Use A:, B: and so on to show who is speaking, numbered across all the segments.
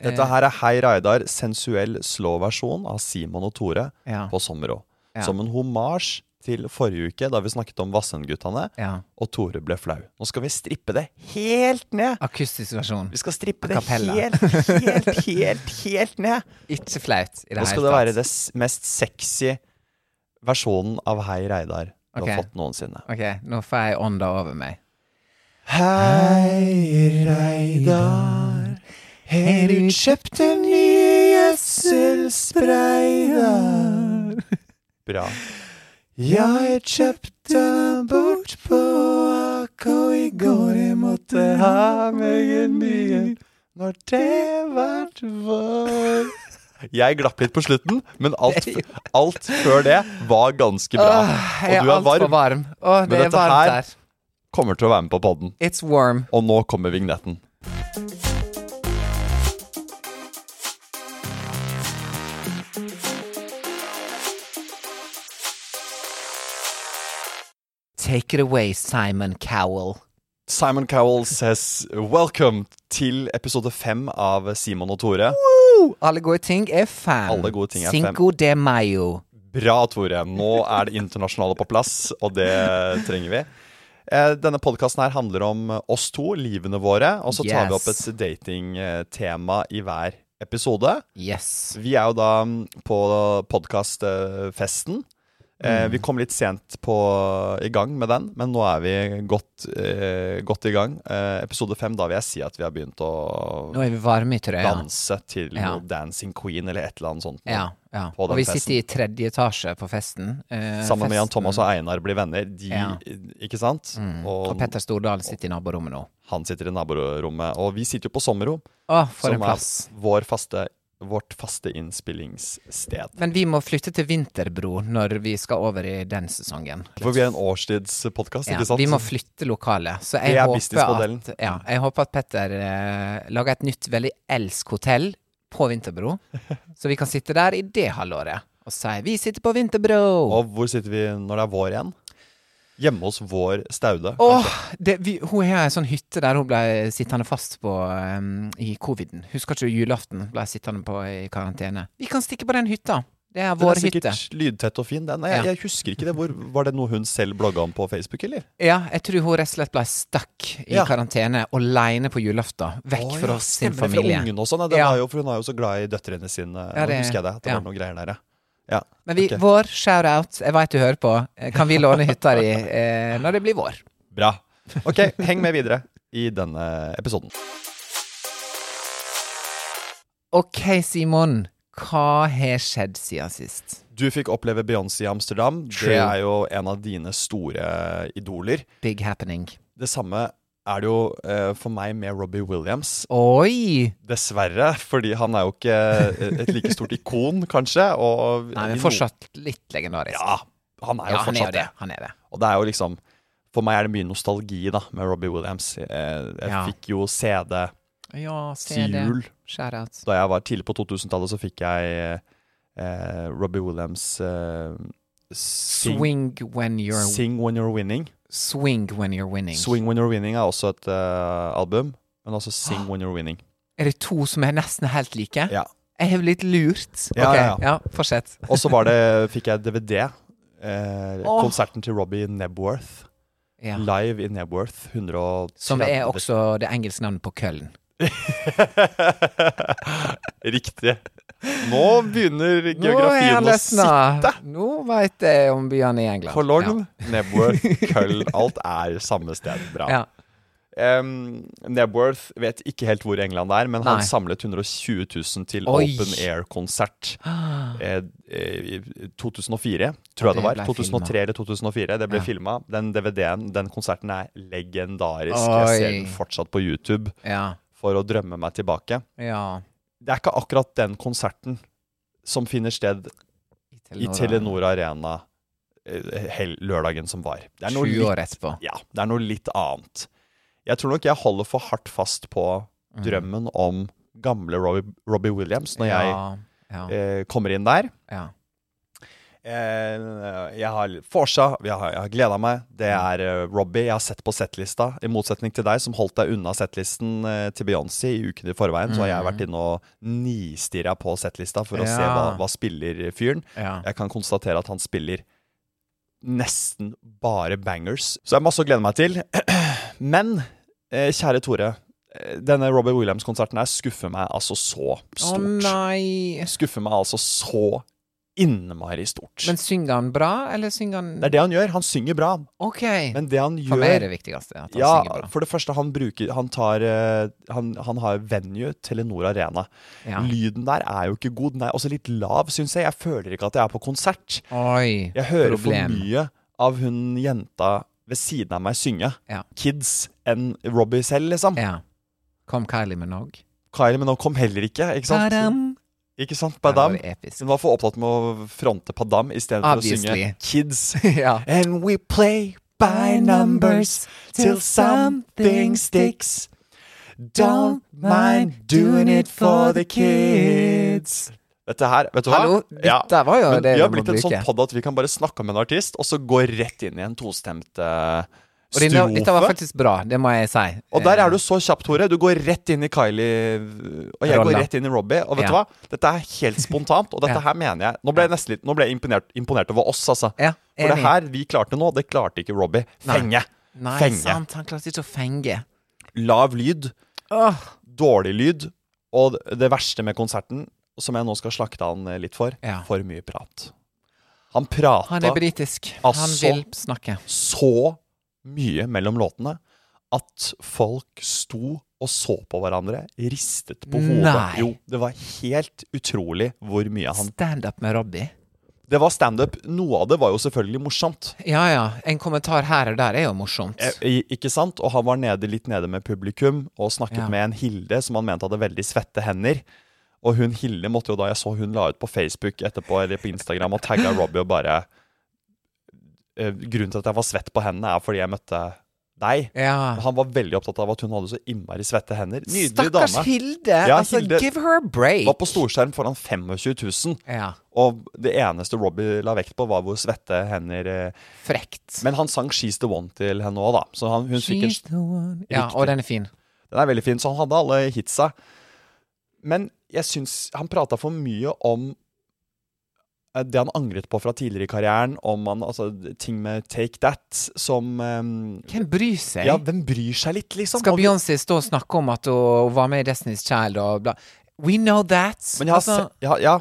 A: Dette her er Hei Reidar, sensuell slå-versjon av Simon og Tore
B: Ja.
A: på Sommerå.
B: Ja.
A: Som en hommage til forrige uke, da vi snakket om Vassendguttene,
B: Ja.
A: og Tore ble flau. Nå skal vi strippe det helt ned!
B: Akustisk versjon.
A: Vi skal strippe det
B: Acapella.
A: helt, helt, helt, helt ned!
B: Ikke flaut i det
A: Nå skal det være den mest sexy versjonen av Hei Reidar du
B: Ok.
A: har fått noensinne.
B: Ok, nå får jeg ånda over meg.
A: Hei, Reidar. Har du kjøpt en ny gjødselsprayer? Bra. Jeg kjøpte bort på AK i går. Jeg måtte ha meg en ny en når det vart vår. Jeg glapp litt på slutten, men alt, alt før det var ganske bra.
B: Åh, jeg
A: Og du Ah, er
B: altfor
A: varm.
B: varm. Åh,
A: Men
B: det er
A: dette
B: varmt
A: her-
B: her.
A: Kommer til å være med på podden.
B: It's warm.
A: Og nå kommer vignetten.
B: Take it away, Simon Cowell.
A: Simon Cowell says welcome til episode fem av Simon og Tore.
B: Woo! Alle gode ting er fem.
A: Alle gode ting er fem.
B: Cinco de Mayo.
A: Bra, Tore. Nå er det internasjonale på plass, og det trenger vi. Eh, Denne podkasten her handler om oss to, livene våre, og så tar vi opp et
B: Yes.
A: datingtema i hver episode.
B: Yes.
A: Vi er jo da mm, på podkastfesten. Eh, vi kom litt sent på, i gang med den, men nå er vi godt, eh, godt i gang. Eh, episode fem, da vil jeg si at vi har begynt å
B: Nå er vi varme i trøya.
A: danse til
B: Ja.
A: noe Dancing Queen eller et eller annet sånt.
B: Ja, ja.
A: På
B: Og
A: den
B: vi
A: festen.
B: sitter i tredje etasje på festen. Eh,
A: Sammen med Jan
B: festen-
A: Thomas og Einar blir venner. De,
B: Ja. Mm.
A: Ikke sant? Og,
B: Og Petter Stordal sitter i naborommet nå.
A: han sitter i naborommet. Og vi sitter jo på Sommerrom,
B: Å, for en
A: som er
B: plass.
A: vår faste, vårt faste innspillingssted.
B: Men vi må flytte til Vinterbro når vi skal over i den sesongen.
A: For vi er en årstidspodkast,
B: Ja,
A: ikke sant?
B: vi må flytte lokalet. Så jeg,
A: Det er
B: håper
A: businessmodellen.
B: at, ja, jeg håper at Petter eh, lager et nytt veldig elsk hotell på Vinterbro, så vi kan sitte der i det halvåret og si 'vi sitter på Vinterbro'. Åh,
A: Og hvor sitter vi når det er vår igjen? Hjemme hos vår staude.
B: det, vi, hun har ei sånn hytte der hun ble sittende fast på eh, i coviden. Husker ikke du julaften ble sittende på i karantene? Vi kan stikke på den hytta. Det er
A: Den er
B: vår
A: sikkert
B: hytte.
A: lydtett og fin, den. Jeg,
B: Ja.
A: jeg husker ikke det. Hvor, var det noe hun selv blogga om på Facebook, eller?
B: Ja, jeg tror hun rett og slett ble stuck i
A: Ja.
B: karantene aleine på julaften. Vekk fra sin familie.
A: Fra ungene og sånn. ja. Det
B: Ja.
A: var jo, for hun er jo så glad i døtrene sine.
B: Ja,
A: Nå
B: det-
A: husker jeg det. At det
B: ja.
A: var noe greier der, ja. ja.
B: Men vi,
A: Ok.
B: vår shout-out, jeg veit du hører på, eh, kan vi låne hytta di eh, når det blir vår?
A: Bra. Ok, heng med videre i denne episoden.
B: OK, Simon. Hva har skjedd siden sist?
A: Du fikk oppleve Beyoncé i Amsterdam.
B: True.
A: Det er jo en av dine store idoler.
B: Big happening.
A: Det samme er det jo eh, for meg med Robbie Williams.
B: Oi!
A: Dessverre, fordi han er jo ikke eh, et like stort ikon, kanskje. Og
B: Nei,
A: i
B: men
A: no-
B: fortsatt litt legendarisk.
A: Ja, han er
B: Ja, han
A: jo
B: er jo
A: fortsatt
B: det.
A: det.
B: Han er det.
A: Og det er jo liksom For meg er det mye nostalgi da med Robbie Williams. Eh, Jeg
B: Ja.
A: fikk jo CD
B: Ja, se
A: til
B: det.
A: jul.
B: Shout-out.
A: Da jeg var tidlig på 2000-tallet, så fikk jeg eh, Robbie Williams eh, sing,
B: Swing when you're
A: sing When You're Winning.
B: Swing when you're winning.
A: Swing When You're Winning er også et eh, album, men også
B: Ah.
A: Sing When You're Winning.
B: Er det to som er nesten helt like?
A: Ja.
B: Jeg har blitt lurt. Ok,
A: Ja, ja, ja.
B: fortsett.
A: Og så var det, fikk jeg DVD. eh,
B: Åh.
A: Konserten til Robbie Nebworth.
B: Ja.
A: Live i Nebworth. 130
B: Som er også det engelske navnet på Køln.
A: Riktig. Nå begynner geografien å sitte.
B: Nå veit jeg om byene i England.
A: Cologne, Nebworth, Köln Alt er samme sted. Bra.
B: Ja.
A: Eh, Em, Nebworth vet ikke helt hvor i England det er, men han
B: Nei.
A: samlet 120 000 til
B: Oi.
A: Open Air-konsert
B: Ah,
A: eh, eh, i 2004, tror
B: Og
A: jeg det
B: det
A: var.
B: ble
A: 2003 eller 2004. Det ble
B: Ja.
A: filma. Den DVD-en, den konserten er legendarisk.
B: Oi.
A: Jeg ser den fortsatt på YouTube
B: ja.
A: for å drømme meg tilbake.
B: Ja.
A: Det er ikke akkurat den konserten som finner sted i Telenor Arena eh, hel lørdagen som var. Det er noe
B: 20
A: litt,
B: år etterpå.
A: ja, det er noe litt annet. Jeg tror nok jeg holder for hardt fast på
B: Mm.
A: drømmen om gamle Robbie, Robbie Williams når
B: ja, ja,
A: jeg eh, kommer inn der.
B: ja.
A: Eh, jeg har Forsa, jeg har, jeg har gleda meg. Det
B: Mm.
A: er eh, Robbie jeg har sett på settlista. I motsetning til deg, som holdt deg unna settlisten eh, til Beyoncé i ukene i forveien, så har
B: Mm.
A: jeg vært inne og nistirra på settlista for å se hva,
B: Ja.
A: hva spiller fyren.
B: ja.
A: Jeg kan konstatere at han spiller nesten bare bangers. Så det er masse å glede meg til. Men eh, kjære Tore, eh, denne Robbie Williams-konserten her skuffer meg altså så
B: Å
A: stort.
B: nei!
A: skuffer meg altså så innmari stort.
B: Men synger han bra, eller synger han
A: det er det han gjør. Han synger bra,
B: Ok.
A: men det han
B: For meg er
A: gjør
B: det viktigste at han
A: ja,
B: synger bra.
A: for det første, han bruker Han tar eh, Han, han har venue Telenor Arena.
B: Ja.
A: Lyden der er jo ikke god. Den er også litt lav, syns jeg. Jeg føler ikke at jeg er på konsert.
B: Oi.
A: Jeg hører
B: Problem.
A: for mye av hun jenta ved siden av meg synge.
B: Ja.
A: Kids enn Robbie selv, liksom.
B: Ja. Kom Kylie Minogue.
A: Kylie Minogue kom heller ikke, ikke sant?
B: Padam.
A: Ikke sant,
B: Det var
A: Padam?
B: Episk.
A: Hun var for opptatt med å fronte Padam istedenfor å synge
B: Obviously.
A: Kids.
B: ja.
A: And we play by numbers till something sticks. Don't mind doing it for the kids. Dette her, vet du hva?
B: Hallo,
A: Ja.
B: dette var jo
A: Men
B: det
A: vi har
B: du må
A: blitt en sånn
B: bruke.
A: podd at vi kan bare snakke om en artist, og så gå rett inn i en tostemt eh,
B: Og denne, dette var
A: strofe.
B: faktisk bra, det må jeg si.
A: Og der er du så kjapp, Tore. Du går rett inn i Kylie, og jeg går
B: Rolla.
A: rett inn i Robbie. Og vet du
B: Ja.
A: hva? Dette er helt spontant, og dette
B: Ja.
A: her mener jeg. Nå ble jeg nesten litt Nå ble jeg imponert, imponert over oss, altså.
B: Ja,
A: For det
B: enig.
A: her vi klarte nå, det klarte ikke Robbie.
B: Nei.
A: Fenge.
B: Nei,
A: fenge.
B: sant, han klarte ikke å fenge.
A: Lav lyd.
B: Åh,
A: Dårlig lyd. Og det verste med konserten, som jeg nå skal slakte han litt for,
B: Ja.
A: for mye prat. Han prata
B: han er britisk. Han
A: Altså.
B: vil snakke.
A: så mye mellom låtene at folk sto og så på hverandre, ristet på hodet.
B: Nei.
A: Jo, det var helt utrolig hvor mye han
B: Standup med Robbie.
A: Det var standup. Noe av det var jo selvfølgelig morsomt,
B: Ja ja, en kommentar her og der er jo morsomt.
A: eh, i- ikke sant? Og han var nede, litt nede med publikum og snakket
B: Ja.
A: med en Hilde som han mente hadde veldig svette hender. Og hun Hilde måtte jo da Jeg så hun la ut på Facebook etterpå eller på Instagram og tagga Robbie og bare eh, Grunnen til at jeg var svett på hendene, er fordi jeg møtte deg.
B: Ja.
A: Han var veldig opptatt av at hun hadde så innmari svette hender. Nydelig
B: Stakkars
A: dame.
B: Hilde!
A: Ja,
B: altså,
A: Hilde
B: give her a break!
A: Var på storskjerm foran 25 000,
B: Ja,
A: og det eneste Robbie la vekt på, var hvor svette hender eh,
B: frekt.
A: Men han sang 'She's the One' til henne òg, da. Så han, hun fikk en,
B: She's the one Ja, og den er fin.
A: den er veldig fin, så han hadde alle hitsa. Men jeg syns han prata for mye om eh, det han angret på fra tidligere i karrieren, om han, altså, ting med Take That som eh,
B: Hvem bryr seg?
A: Ja, hvem bryr seg litt, liksom?
B: Skal
A: Og-
B: Beyoncé stå og snakke om at hun var med i Destiny's Child og bla We know that!
A: Men jeg har,
B: Altså,
A: sett, jeg har, ja,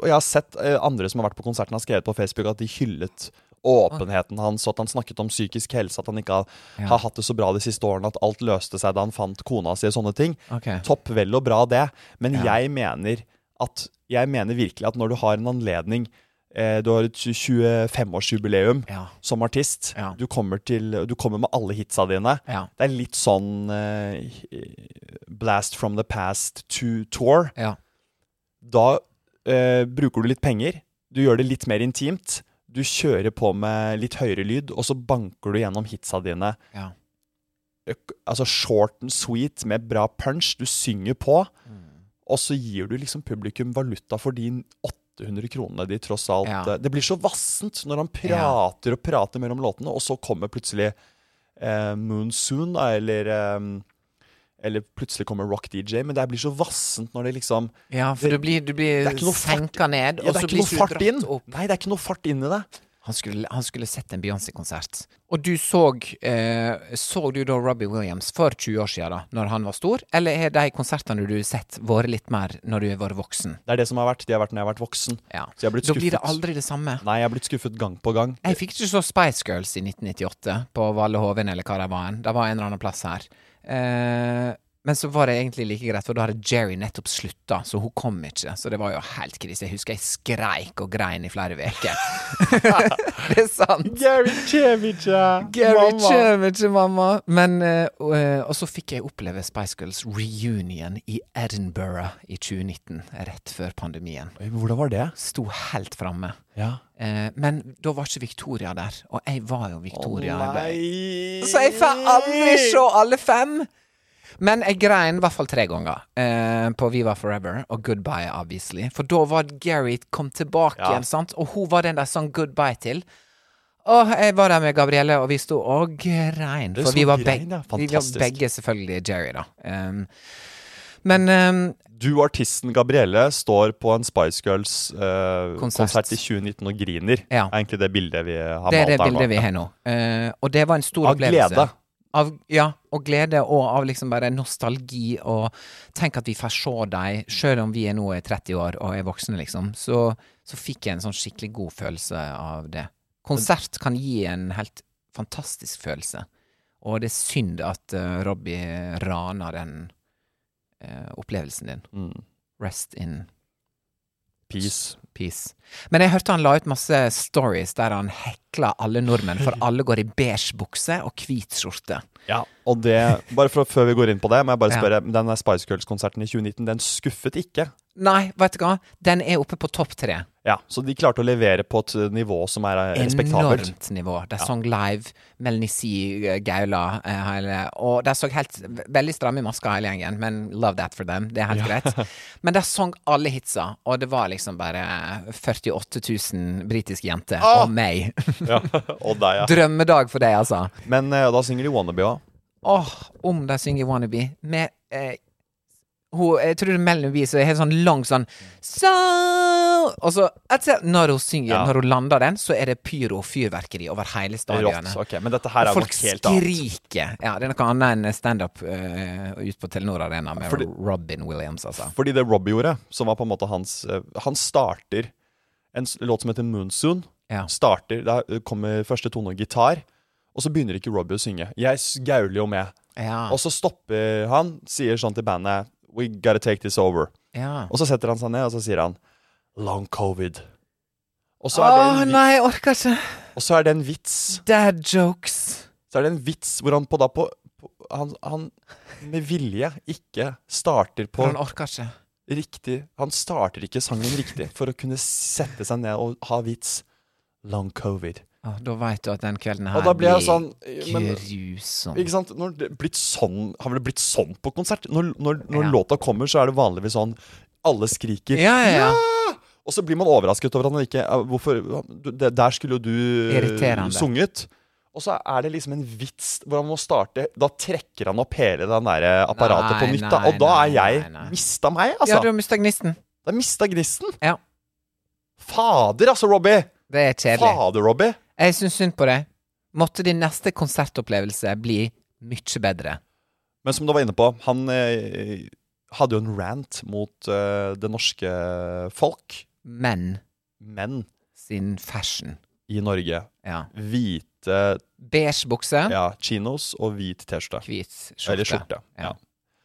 A: og jeg har sett eh, andre som har vært på konserten, har skrevet på Facebook at de hyllet åpenheten hans, og at han snakket om psykisk helse, at han ikke har,
B: Ja.
A: har hatt det så bra de siste årene, at alt løste seg da han fant kona si og sånne ting.
B: Ok.
A: Topp vel og bra det, men
B: Ja.
A: jeg mener at jeg mener virkelig at når du har en anledning eh, Du har et 25-årsjubileum
B: Ja.
A: som artist.
B: Ja.
A: Du, kommer til, du kommer med alle hitsa dine.
B: Ja.
A: Det er litt sånn eh, Blast from the past to tour
B: Ja.
A: da eh, bruker du litt penger, du gjør det litt mer intimt, du kjører på med litt høyere lyd, og så banker du gjennom hitsa dine.
B: Ja.
A: Øk- Altså short and sweet med bra punch, du synger på, og så gir du liksom publikum valuta for de 800 kronene de tross alt
B: Ja.
A: eh, Det blir så vassent når han prater og prater mellom låtene, og så kommer plutselig eh, Moonsoon, da, eller eh, eller plutselig kommer Rock DJ, men det her blir så vassent når det liksom
B: Ja, for du
A: Det-
B: blir, du
A: det
B: blir
A: er ikke noe fart-
B: senka ned,
A: ja,
B: og
A: det
B: så
A: er ikke
B: blir
A: noe
B: ikke du
A: fart inn.
B: dratt opp.
A: Nei, det er ikke noe fart inn i det.
B: Han skulle, han skulle sett en Beyoncé-konsert. Og du så eh, Så du da Robbie Williams for 20 år siden, da, når han var stor? Eller har de konsertene du har sett, vært litt mer når du har vært voksen?
A: Det er det som har vært. De har vært når jeg har vært voksen.
B: Ja.
A: Så jeg har blitt
B: Da
A: skuffet.
B: blir det aldri det samme.
A: Nei, jeg har blitt skuffet gang på gang.
B: Jeg fikk ikke så Spice Girls i 1998 på Valle Hoven eller hva det var. hen. Det var en eller annen plass her. Eh, men så var det egentlig like greit, for da hadde Jerry nettopp slutta, så hun kom ikke. Så det var jo helt krise. Jeg husker jeg skreik og grein i flere uker. det er sant.
A: Gary kommer ikke!
B: Gary
A: mamma.
B: kommer ikke, mamma. Men, eh, og, eh, og så fikk jeg oppleve Spice Girls reunion i Edinburgh i 2019, rett før pandemien.
A: Oi, men Hvordan var det?
B: Sto helt framme.
A: Ja.
B: Eh, men da var ikke Victoria der, og jeg var jo Victoria. Jeg ble-
A: nei.
B: så jeg får aldri se alle fem. Men jeg grein i hvert fall tre ganger eh, på Viva Forever og Goodbye, obviously. For da var Gary kom tilbake
A: Ja.
B: igjen, sant? og hun var den der sang goodbye til. Og jeg var der med Gabrielle, og vi sto og grein.
A: Det er
B: For vi
A: så
B: var,
A: grein, ja.
B: beg vi var
A: Fantastisk.
B: begge selvfølgelig Jerry, da. Um, men um,
A: Du, artisten Gabrielle, står på en Spice Girls-konsert
B: Konsert.
A: i 2019 og griner.
B: Ja.
A: Er egentlig det bildet vi har
B: det er det
A: malt her nå.
B: bildet vi har nå. Eh, og det var en stor
A: Av
B: opplevelse.
A: glede.
B: Av, ja, og glede, og av liksom bare nostalgi, og tenk at vi får se deg, sjøl om vi er nå er 30 år og er voksne, liksom. Så, så fikk jeg en sånn skikkelig god følelse av det. Konsert kan gi en helt fantastisk følelse, og det er synd at eh, Robbie rana den eh, opplevelsen din.
A: Mm.
B: Rest in
A: Peace.
B: Peace. Men jeg hørte han la ut masse stories der han hekla alle nordmenn, for alle går i beige bukse og hvit skjorte.
A: Ja, og det, bare for, Før vi går inn på det, må jeg bare
B: Ja.
A: spørre. Den der Spice Girls-konserten i 2019, den skuffet ikke.
B: Nei, vet du hva, den er oppe på topp tre.
A: Ja, Så de klarte å levere på et nivå som er eh, respektabelt.
B: Enormt nivå. De sang live, Melanie C, eh, Gaula eh, hele- Og de så helt ve- veldig stramme i maska hele gjengen, men love that for them. Det er helt greit. Men de sang alle hitsa, og det var liksom bare 48 000 britiske jenter og meg.
A: Ja, og deg, ja.
B: Drømmedag for deg, altså.
A: Men eh, da synger de Wannabe òg.
B: Åh, om de synger Wannabe med eh, hun, Jeg tror det er Melanie B som har sånn lang sånn so, Og så etter, Når hun synger,
A: Ja.
B: når hun lander den, så er det pyro og fyrverkeri over hele
A: Rått.
B: stadionet.
A: ok, Men dette her er jo
B: Folk
A: noe helt annet.
B: skriker. Ja, det er noe annet enn standup uh, ute på Telenor Arena med
A: Fordi-
B: Robin Williams, altså.
A: Fordi det Robbie gjorde, som var på en måte hans eh, Han starter en s- låt som heter Moonsoon.
B: Ja.
A: Starter, Der kommer første tone og gitar, og så begynner ikke Robbie å synge. Jeg s- gauler jo med.
B: Ja.
A: Og så stopper han, sier sånn til bandet We gotta take this over.
B: ja.
A: Og så setter han seg ned, og så sier han Long covid. Og så er det
B: Åh,
A: en, vi-
B: nei, jeg orker ikke.
A: og så er det en vits.
B: Dad jokes.
A: Så er det en vits hvor han på da på, på han, han med vilje ikke starter på
B: Han orker ikke.
A: riktig Han starter ikke sangen riktig for å kunne sette seg ned og ha vits. Long covid.
B: Åh, da veit du at den kvelden her
A: Og da blir jeg sånn men,
B: grusom.
A: Ikke sant? Når det blitt sånn, har vel det blitt sånn på konsert? Når, når, når
B: Ja.
A: låta kommer, så er det vanligvis sånn Alle skriker.
B: Ja, ja, ja.
A: Og så blir man overrasket over at han ikke eh, hvorfor, du- det, Der skulle jo du eh,
B: Irriterende.
A: sunget. Og så er det liksom en vits hvor han må starte Da trekker han opp hele den der eh, apparatet
B: Nei,
A: på nytt. Da.
B: nei,
A: Og da er
B: nei,
A: jeg
B: nei, nei.
A: Mista meg,
B: Ja,
A: altså.
B: du har mista gnisten.
A: Da mista gnisten.
B: Ja.
A: Fader, altså, Robbie!
B: Det er kjedelig.
A: Fader, Robbie.
B: Jeg syns synd på deg. Måtte din neste konsertopplevelse bli mye bedre.
A: Men som du var inne på, han eh, hadde jo en rant mot eh, det norske folk,
B: Men
A: menn
B: sin fashion.
A: i Norge.
B: Ja.
A: Hvite
B: Beige bukse,
A: ja, chinos og hvit T-skjorte.
B: hvit
A: Eller
B: skjorte.
A: skjorte.
B: Ja.
A: Ja.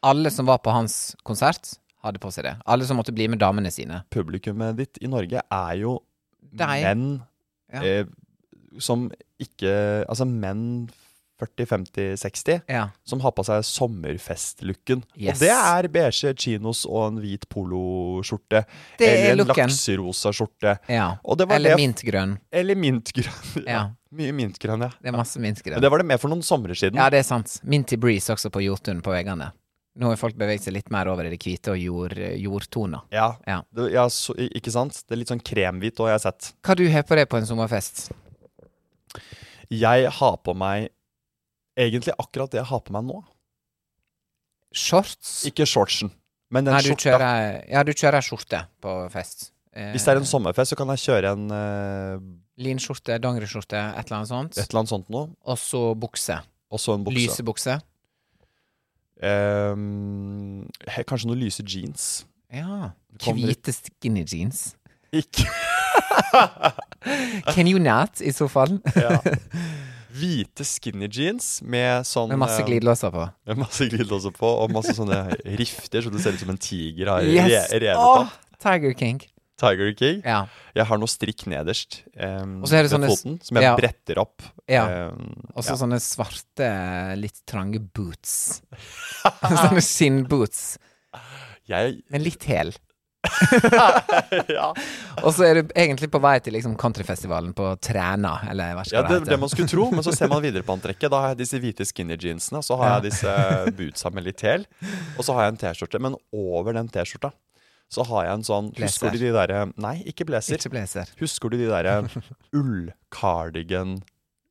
B: Alle som var på hans konsert, hadde på seg det. Alle som måtte bli med damene sine.
A: Publikummet ditt i Norge er jo
B: Deg.
A: menn
B: Ja.
A: eh, som ikke Altså menn 40-50-60
B: Ja.
A: som har på seg sommerfestlooken.
B: Yes.
A: Og det er beige chinos og en hvit poloskjorte.
B: Det er
A: Eller en
B: looken.
A: lakserosa skjorte.
B: ja.
A: Og det var
B: Eller
A: det-
B: mintgrønn.
A: Eller mintgrønn.
B: Ja.
A: Mye mintgrønn, ja.
B: Det er masse mintgrønn.
A: Men det var det med for noen somre siden.
B: Ja, det er sant. Minty Breeze også på Jotun på veggene. Nå har folk beveget seg litt mer over i det hvite og jord, jordtoner.
A: Ja.
B: Ja.
A: Det, ja så, i- ikke sant? Det er litt sånn kremhvit òg, jeg har sett.
B: Hva du har på deg på en sommerfest?
A: Jeg har på meg egentlig akkurat det jeg har på meg nå.
B: Shorts?
A: Ikke shortsen, men den
B: Nei, du
A: skjorta.
B: kjører, ja, du kjører skjorte på fest. Eh,
A: Hvis det er en sommerfest, så kan jeg kjøre en eh,
B: Linskjorte, dongeriskjorte, et eller annet sånt.
A: et eller annet sånt noe,
B: Og så bukse.
A: og så en bukse.
B: Lysebukse.
A: Ehm, he- kanskje noen lyse jeans.
B: Ja.
A: Kommer-
B: Hvite skinny jeans.
A: Ikke
B: Can you not, i så fall?
A: ja. hvite skinny jeans med sånn
B: Med masse
A: eh,
B: glidelåser på.
A: med masse glidelåser på, og masse sånne rifter, så du ser ut som en tiger har
B: Yes!
A: re revet
B: Åh,
A: opp.
B: Tiger King.
A: Tiger King.
B: Ja.
A: Jeg har noe strikk nederst um,
B: Og så er det
A: ved
B: sånne s-
A: foten, som jeg
B: ja.
A: bretter opp.
B: ja.
A: Um,
B: Og så
A: ja.
B: sånne svarte, litt trange boots. sånne skinnboots. sånn-
A: Jeg
B: Men litt hæl.
A: ja.
B: Og så er du egentlig på vei til liksom countryfestivalen på Træna, eller hva
A: ja,
B: skal
A: det
B: det
A: det
B: hete.
A: man skulle tro, men så ser man videre på antrekket. Da har jeg disse hvite skinny jeansene, og så har
B: Ja.
A: jeg disse eh, bootsa med litt hæl, og så har jeg en T-skjorte. Men over den T-skjorta så har jeg en sånn Husker
B: Blazer.
A: du de derre Nei, ikke blazer.
B: Ikke blazer.
A: Husker du de eh, derre ullcardigan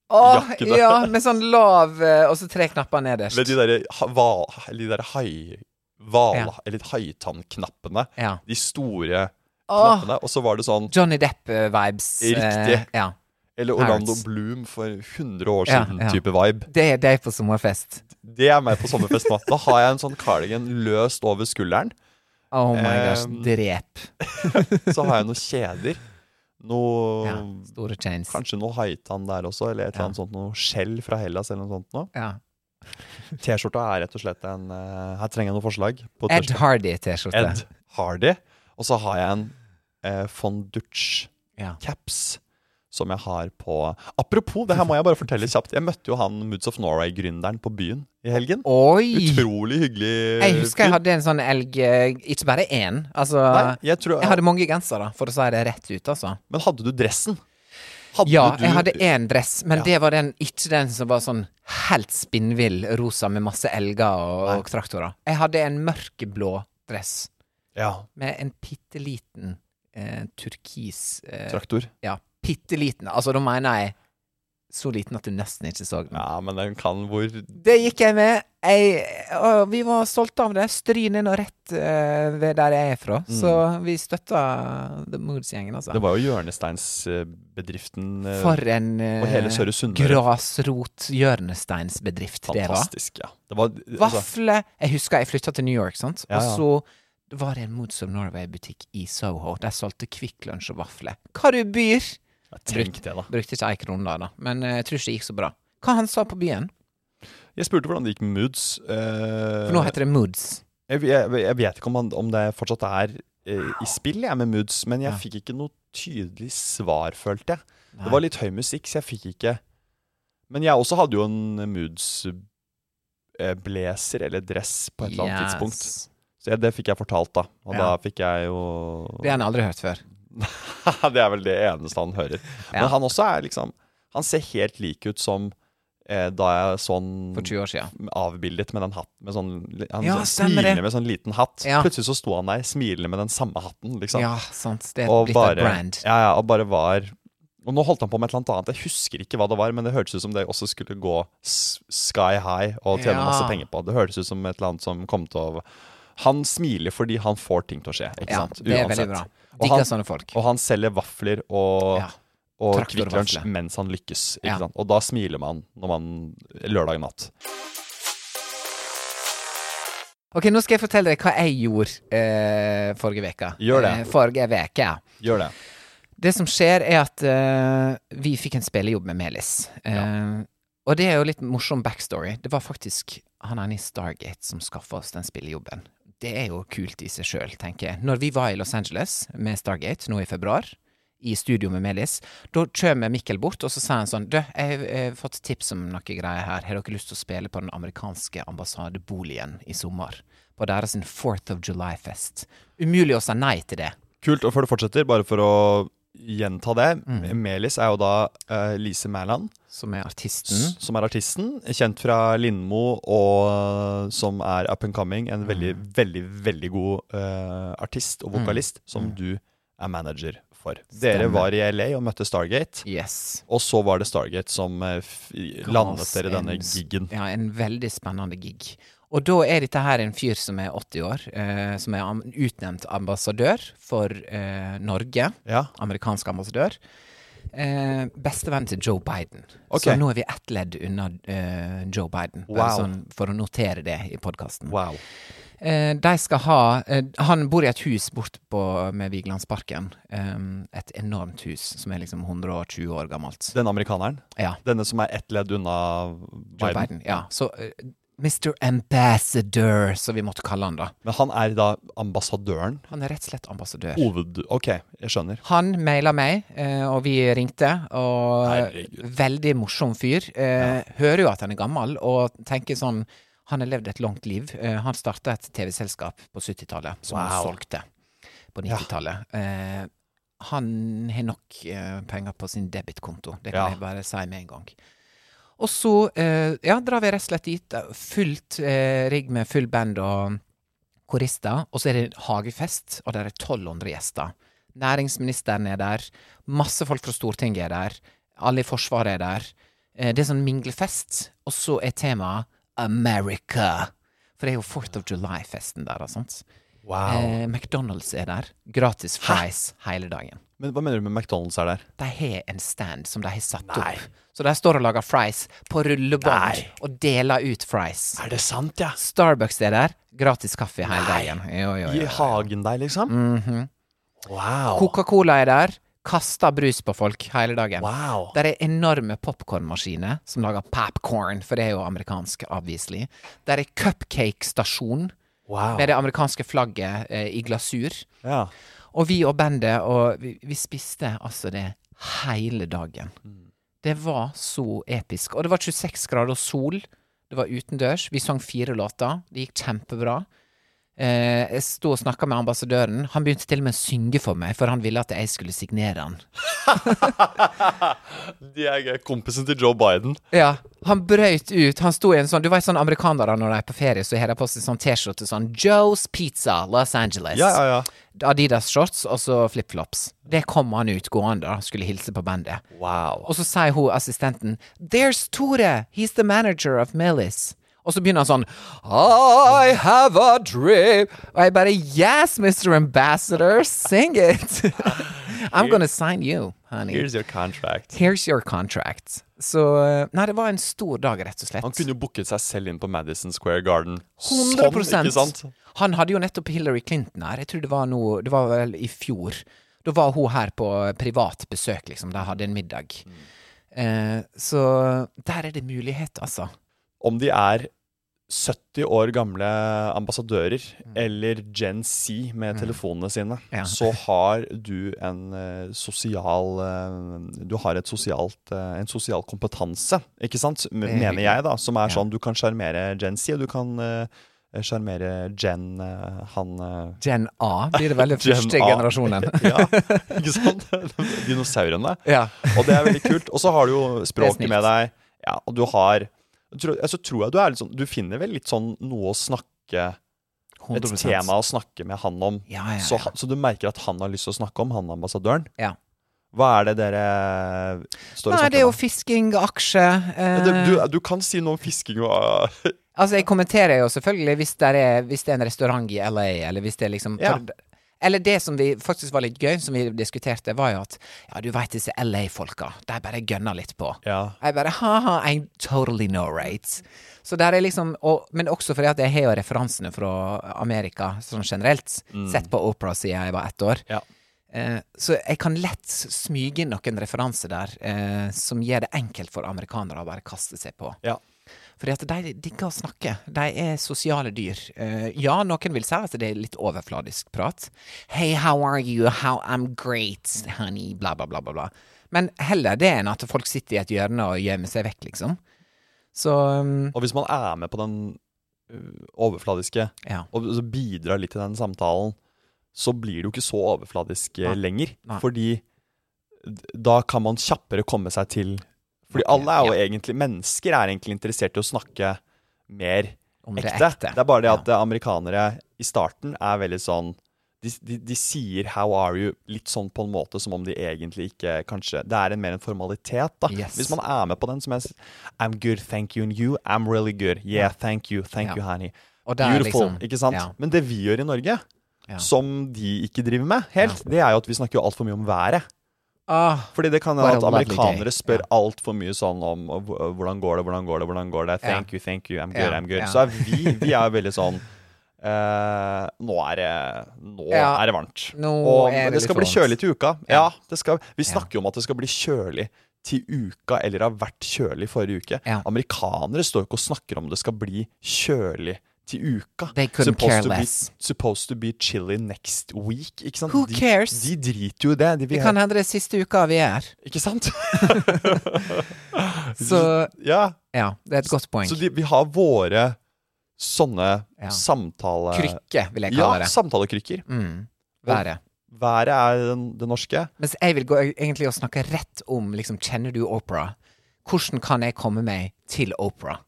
B: Å,
A: Jakke, da.
B: ja, med sånn lav eh, Og så tre knapper nederst.
A: Eller de derre ha- val... Eller de derre hai... Val... Eller haitannknappene.
B: Ja.
A: De store
B: Åh,
A: knappene. Og så var det sånn
B: Johnny Depp-vibes. eh,
A: Riktig.
B: ja.
A: Eller Orlando
B: Pirates.
A: Bloom for 100 år
B: Ja,
A: siden
B: ja.
A: type vibe.
B: Det er deg på sommerfest.
A: Det er meg på sommerfest nå. Da har jeg en sånn cardigan løst over skulderen.
B: Oh my gosh,
A: Um,
B: drep.
A: Så har jeg noen kjeder. Noe
B: Ja, store chains.
A: oh, Kanskje noe haitann der også, eller et eller annet sånt noe skjell fra Hellas. eller noe sånt nå.
B: Ja.
A: T-skjorta er rett og slett en eh, Her trenger jeg noen forslag. på
B: Ed
A: T-skjorte.
B: Hardy-T-skjorte.
A: Ed Hardy. Og så har jeg en eh, von Dutch
B: Ja.
A: caps som jeg har på Apropos, det her må jeg bare fortelle kjapt. Jeg møtte jo han Moods of Norway-gründeren på byen i helgen.
B: Oi!
A: Utrolig hyggelig
B: Jeg husker jeg
A: fyr.
B: hadde en sånn elg eh, Ikke bare én. Altså,
A: Nei, jeg tror,
B: jeg hadde mange gensere, for å si det rett ut, altså.
A: Men hadde du dressen? Hadde
B: Ja,
A: du-
B: jeg hadde én dress, men
A: Ja.
B: det var den, ikke den som var sånn helt spinnvill rosa med masse elger og,
A: Nei.
B: og traktorer. Jeg hadde en mørkeblå dress
A: ja,
B: med en bitte liten eh, turkis eh,
A: traktor.
B: Ja, bitte liten. Altså, da mener jeg så liten at du nesten ikke så den.
A: Ja, men den kan hvor
B: Det gikk jeg med. Jeg, og vi var stolte av det. Stryn er nå rett eh, ved der jeg er fra. Så vi støtta The Moods-gjengen, altså.
A: Mm. Det var jo hjørnesteinsbedriften eh,
B: For en eh,
A: på hele Søre Sunnmøre.
B: grasrot-hjørnesteinsbedrift det var.
A: Fantastisk, ja. Det var, altså,
B: Vafle Jeg husker jeg flytta til New York, sant.
A: Ja, ja.
B: Og så var det en Moods of Norway-butikk i Soho. Der solgte Kvikk Lunsj og vafler. Hva du byr!
A: tenk det, da.
B: Brukte ikke ei krone da, da. Men eh, jeg tror ikke det gikk så bra. Hva han sa på byen?
A: Jeg spurte hvordan det gikk med Moods. eh,
B: For nå heter det Moods.
A: jeg, jeg, jeg vet ikke om, han, om det fortsatt er eh, i spill jeg med Moods, men jeg
B: Ja.
A: fikk ikke noe tydelig svar, følte jeg.
B: Nei.
A: Det var litt høy musikk, så jeg fikk ikke Men jeg også hadde jo en Moods-blazer eller dress på et eller annet
B: Yes.
A: tidspunkt. Så jeg, det fikk jeg fortalt, da. Og da
B: Ja.
A: fikk jeg jo
B: Det har han aldri hørt før.
A: Det er vel det eneste han hører.
B: Ja.
A: Men han også er liksom Han ser helt lik ut som eh, da jeg sånn
B: For 20 år siden.
A: avbildet med den hatten med sånn, Han
B: Ja,
A: sånn
B: stemmer
A: smiler
B: det.
A: med sånn liten hatt.
B: Ja.
A: Plutselig så sto han der smilende med den samme hatten, liksom.
B: Ja, sant. Det er
A: og
B: blitt et
A: bare,
B: brand.
A: ja, ja, og bare var Og nå holdt han på med et eller annet annet. Jeg husker ikke hva det var, men det hørtes ut som det også skulle gå s- sky high og tjene
B: Ja.
A: masse penger på. Det hørtes ut som et eller annet som kom til å Han smiler fordi han får ting til å skje, ikke
B: Ja,
A: sant?
B: det er veldig bra.
A: Og
B: Digger
A: han-
B: sånne folk.
A: Og han selger vafler og
B: Ja.
A: og
B: Traktor
A: Kvikk Lunsj
B: vafler.
A: mens han lykkes.
B: Ja.
A: Ikke sant? Og da smiler man når man lørdag natt.
B: Ok, nå skal jeg fortelle deg hva jeg gjorde eh, forrige veke.
A: Gjør det.
B: Eh, forrige veke, ja.
A: Gjør det.
B: Det som skjer, er at eh, vi fikk en spillejobb med Melis. Eh, Og det er jo litt morsom backstory. Det var faktisk han ene i Stargate som skaffa oss den spillejobben. Det er jo kult i seg sjøl, tenker jeg. Når vi var i Los Angeles med Stargate nå i februar, i studio med Melis, da kommer Mikkel bort, og så sier han sånn Du, jeg har fått tips om noe greier her. Har dere lyst til å spille på den amerikanske ambassadeboligen i sommer? På deres Fourth of July-fest. Umulig å si nei til det.
A: Kult. Og før du fortsetter, bare for å gjenta det.
B: Mm.
A: Melis er jo da eh, Lise Mæland,
B: Som er artisten.
A: s- som er artisten. Kjent fra Lindmo, og eh, som er up and coming. En veldig,
B: Mm.
A: veldig, veldig god eh, artist og vokalist, som du er manager for.
B: Mm.
A: Dere
B: Stemmer.
A: var i LA og møtte Stargate.
B: Yes.
A: Og så var det Stargate som eh, f landet dere denne
B: En s-
A: gigen.
B: Ja, en veldig spennende gig. Og da er dette her en fyr som er 80 år, eh, som er am- utnevnt ambassadør for eh, Norge.
A: Ja.
B: Amerikansk ambassadør. Eh, Bestevenn til Joe Biden.
A: Ok.
B: Så nå er vi ett ledd unna eh, Joe Biden, bare
A: Wow.
B: sånn for å notere det i podkasten.
A: Wow.
B: Eh, de skal ha eh, Han bor i et hus bortpå med Vigelandsparken. Eh, et enormt hus som er liksom 120 år gammelt.
A: Denne amerikaneren?
B: Ja.
A: Denne som er ett ledd unna
B: Joe
A: Biden?
B: Biden. Ja. Så eh, Mr. Ambassador, som vi måtte kalle han da.
A: Men han er da ambassadøren?
B: Han er rett og slett ambassadør.
A: Hoved... Ok, jeg skjønner.
B: Han maila meg, eh, og vi ringte. Og
A: Herregud.
B: Veldig morsom fyr. Eh, Hører jo at han er gammel, og tenker sånn Han har levd et langt liv. Eh, han starta et TV-selskap på 70-tallet som han
A: Wow.
B: solgte på 90-tallet. Eh, han har nok eh, penger på sin debitkonto, det kan
A: Ja.
B: jeg bare si med en gang. Og så eh, ja, drar vi rett og slett dit. eh, Fullt eh, rigg med full band og korister. Og så er det hagefest, og der er 1200 gjester. Næringsministeren er der. Masse folk fra Stortinget er der. Alle i Forsvaret er der. Eh, Det er sånn minglefest, og så er temaet America. For det er jo 4th of July-festen der, da, sant. Eh, McDonald's er der. Gratis fries hele dagen.
A: Men hva mener du med McDonald's er der?
B: De har en stand som de har satt opp. Så de står og lager fries på rullebånd
A: Nei.
B: og deler ut fries.
A: Er det sant, ja?
B: Starbucks er der. Gratis kaffe hele dagen. Jo, jo,
A: I
B: jo.
A: hagen der, liksom?
B: Mhm.
A: Wow.
B: Coca-Cola er der. Kaster brus på folk hele dagen.
A: Wow.
B: Der er enorme popkornmaskiner som lager popcorn, for det er jo amerikansk, obviously. Der er cupcake-stasjon
A: wow.
B: med det amerikanske flagget eh, i glasur.
A: Ja.
B: Og vi og bandet, og vi, vi spiste altså det hele dagen. Det var så episk. Og det var 26 grader og sol. Det var utendørs. Vi sang fire låter. Det gikk kjempebra. Eh, jeg sto og snakka med ambassadøren. Han begynte til og med å synge for meg, for han ville at jeg skulle signere han.
A: De er gøy. kompisen til Joe Biden.
B: Ja, han brøyt ut. Han sto i en sånn Du vet sånn amerikanere når de er på ferie, så har de på seg sånn T-skjorte sånn Joe's Pizza, Los Angeles.
A: Ja, ja, ja.
B: Adidas shorts og så flipflops. Det kom han ut gående, da. Skulle hilse på bandet.
A: Wow.
B: Og så sier hun assistenten There's Tore, he's the manager of Millis Og så begynner han sånn I have a dream Og jeg bare, yes Mr. Ambassador, sing it I'm gonna sign you, honey
A: Here's your contract.
B: Here's your contract Så, eh, nei det var en stor dag rett og slett
A: Han kunne jo booket seg selv inn på Madison Square Garden.
B: 100
A: Sånn, ikke sant?
B: Han hadde jo nettopp Hillary Clinton her. Jeg tror det var noe Det var vel i fjor. Da var hun her på privat besøk, liksom. De hadde en middag. Eh, så der er det mulighet, altså.
A: Om de er 70 år gamle ambassadører eller Gen Z med telefonene sine,
B: Mm. Ja.
A: så har du en eh, sosial eh, Du har et sosialt, eh, en sosial kompetanse, ikke sant, M-
B: Det er
A: mener jeg, da, som er
B: Ja.
A: sånn du kan sjarmere Gen Z, og du kan eh, sjarmere Gen eh, han eh,
B: Gen A blir det vel den
A: Gen
B: første
A: A.
B: generasjonen.
A: ja, ikke sant? Dinosaurene.
B: ja.
A: Og det er veldig kult. Og så har du jo
B: Det
A: språket
B: er snilt.
A: med deg. Ja, og du har jeg tror, jeg, Så tror jeg du er litt sånn Du finner vel litt sånn noe å snakke Et
B: 100%.
A: tema å snakke med han om.
B: Ja, ja,
A: Så,
B: ja.
A: han- så du merker at han har lyst til å snakke om, han ambassadøren.
B: Ja.
A: Hva er det dere står
B: Nei,
A: og
B: det
A: snakker
B: er jo
A: om?
B: fisking, aksje eh,
A: Ja, det- Du, du kan si noe om fisking og
B: Altså, jeg kommenterer jo selvfølgelig hvis det er, hvis det er en restaurant i LA, eller hvis det er liksom
A: Ja.
B: for, Eller det som vi faktisk var litt gøy, som vi diskuterte, var jo at ja, du veit disse LA-folka, de bare gønner litt på.
A: Ja.
B: Jeg bare ha-ha, I totally know, right? Så der er liksom og, Men også fordi at jeg har jo referansene fra Amerika sånn generelt. Sett på Opera siden jeg var ett år.
A: ja.
B: Eh, så jeg kan lett smyge inn noen referanser der eh, som gjør det enkelt for amerikanere å bare kaste seg på.
A: ja.
B: Fordi at de digger å snakke. De er sosiale dyr. Eh, ja, noen vil si at det er litt overfladisk prat. Hey, how are you? How I'm great, honey. Bla, bla, bla, bla, bla. Men heller det enn at folk sitter i et hjørne og gjemmer seg vekk, liksom. Så um,
A: Og hvis man er med på den uh, overfladiske,
B: Ja.
A: og så bidrar litt til den samtalen, så blir det jo ikke så overfladisk eh, lenger.
B: Nei.
A: Fordi d- da kan man kjappere komme seg til Fordi alle er jo egentlig Mennesker er egentlig interessert i å snakke mer
B: om
A: ekte.
B: det
A: Det
B: er ekte.
A: er bare det at eh, amerikanere i starten er veldig sånn de, de, de sier 'how are you' litt sånn på en måte som om de egentlig ikke kanskje Det er en, mer en formalitet, da.
B: Yes.
A: Hvis man er med på den som jeg s- I'm good, thank you, and you? I'm really good. Yeah, thank you, thank
B: Ja.
A: you, honey.
B: Og det er
A: Beautiful,
B: liksom-
A: ikke sant?
B: ja.
A: Men det vi gjør i Norge,
B: Ja.
A: som de ikke driver med helt, det er jo at vi snakker jo altfor mye om været.
B: Ah,
A: Fordi det kan
B: What
A: være
B: a
A: at
B: lovely day.
A: amerikanere spør altfor mye sånn om uh, hvordan går det, hvordan går det, hvordan går det, thank you, thank you, I'm good,
B: Ja,
A: I'm good.
B: ja.
A: Så er vi, vi er veldig sånn Eh, nå er det, nå
B: Ja.
A: er det varmt.
B: Nå
A: og
B: er det
A: det,
B: litt
A: skal bli
B: varmt.
A: kjølig til uka. Ja,
B: Ja.
A: det skal, Vi
B: Ja.
A: snakker jo om at det skal bli kjølig til uka, eller har vært kjølig forrige uke.
B: Ja.
A: Amerikanere står jo ikke og snakker om det skal bli kjølig til uka.
B: They couldn't care
A: to
B: less.
A: Be, supposed to be chilly next week. Ikke sant?
B: Who
A: de,
B: cares?
A: De driter jo i det. De
B: Det
A: vil
B: kan
A: ha,
B: hende det er siste uka vi er her.
A: ikke sant?
B: Så
A: ja.
B: ja, det er et godt poeng.
A: Så de, vi har våre sånne
B: Ja.
A: samtale...
B: Krykke, vil jeg
A: Ja,
B: kalle det.
A: samtalekrykker.
B: Mm. Været.
A: Været er den, det norske.
B: Mens jeg vil gå egentlig og snakke rett om liksom, Kjenner du opera? Hvordan kan jeg komme meg til opera?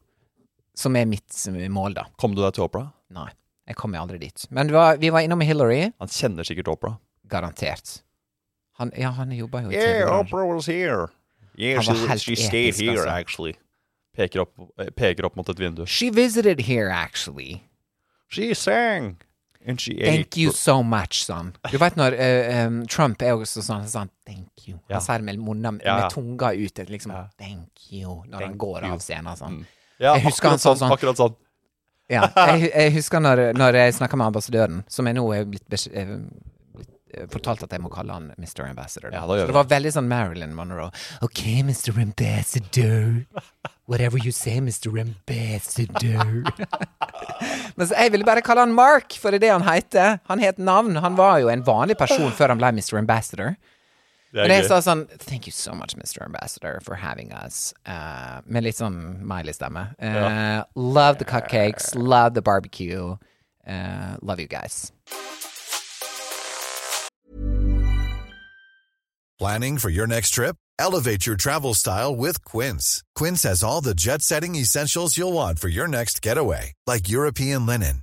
B: Som er mitt eh, mål, da.
A: Kom du deg til Opera?
B: Nei, jeg kommer aldri dit. Men det var, vi var innom Hillary.
A: Han kjenner sikkert Opera.
B: Garantert. Han, ja, han jobber jo i
A: Yeah,
B: TV.
A: Opera was here. Yeah,
B: Han var
A: she,
B: helt
A: she stayed
B: episk,
A: here,
B: altså.
A: actually. Peker opp, eh, peker opp mot et vindu.
B: She visited here, actually.
A: She sang, and she
B: Thank
A: ate.
B: you so much, son. Du vet når eh, um, Trump er også sånn, sånn Thank you.
A: Ja.
B: Han sier det med, munnen,
A: Ja, ja.
B: med tunga ute. Liksom,
A: Ja.
B: Thank you. Når han
A: Thank
B: går
A: you. Mm.
B: av scenen. Sånn.
A: Ja,
B: Jeg husker han
A: akkurat
B: sa sånn-
A: Akkurat sånn.
B: Ja. Jeg, hu- jeg husker når, når jeg snakka med ambassadøren, som jeg nå er blitt, besk- eh, blitt eh, fortalt at jeg må kalle han Mr. Ambassador.
A: Ja, da gjør
B: Så
A: vi
B: det var veldig sånn Marilyn Monroe. OK, Mr. Ambassador. Whatever you say, Mr. Ambassador. Mens jeg ville bare kalle han Mark, for det er det han heter. Han het navn. Han var jo en vanlig person før han ble Mr. Ambassador.
A: Det
B: Men jeg
A: er gøy.
B: sa sånn Thank you so much, Mr. Ambassador, for having us. Eh, med litt sånn Miley-stemme. Eh, Love the cupcakes. Love the barbecue. eh, love you guys.
C: Planning for your next trip? Elevate your travel style with Quince. Quince has all the jet setting essentials you'll want for your next getaway, like European linen,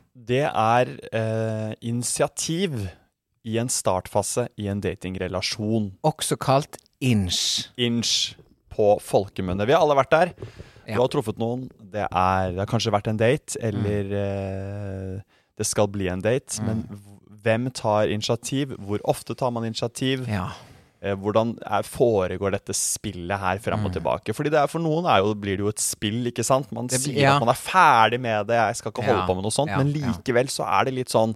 A: det er eh, initiativ i en startfase i en datingrelasjon.
B: Også kalt inch.
A: inch på folkemunne. Vi har alle vært der.
B: Ja.
A: Du har truffet noen. Det, er, det har kanskje vært en date, eller eh, det skal bli en date.
B: Mm.
A: Men v- hvem tar initiativ? Hvor ofte tar man initiativ?
B: Ja.
A: Eh, hvordan er, foregår dette spillet her fram og tilbake? Fordi det er, For noen er jo, blir det jo et spill, ikke sant? Man
B: Mm. Det blir-
A: sier
B: ja.
A: at man er ferdig med det, jeg skal ikke holde
B: Ja,
A: på med noe sånt.
B: ja,
A: Men
B: ja.
A: likevel så er det litt sånn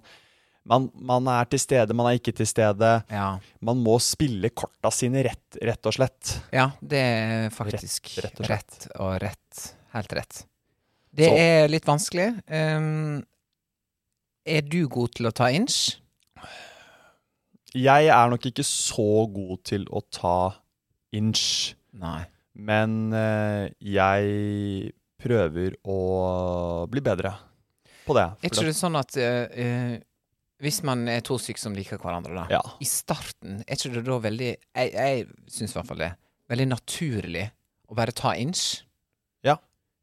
A: man, man er til stede, man er ikke til stede.
B: Ja.
A: Man må spille korta sine rett, rett og slett.
B: Ja, det er faktisk
A: Rett- rett
B: rett
A: og
B: og
A: slett.
B: rett. Helt rett. Det
A: Så-
B: er litt vanskelig. Um, er du god til å ta inch?
A: Jeg er nok ikke så god til å ta inch,
B: Nei.
A: men eh, jeg prøver å bli bedre på det.
B: Er ikke det sånn at eh, eh, hvis man er to stykker som liker hverandre, da
A: Ja.
B: I starten, er ikke det da veldig Jeg, jeg syns i hvert fall det. Veldig naturlig å bare ta inch.
A: Ja.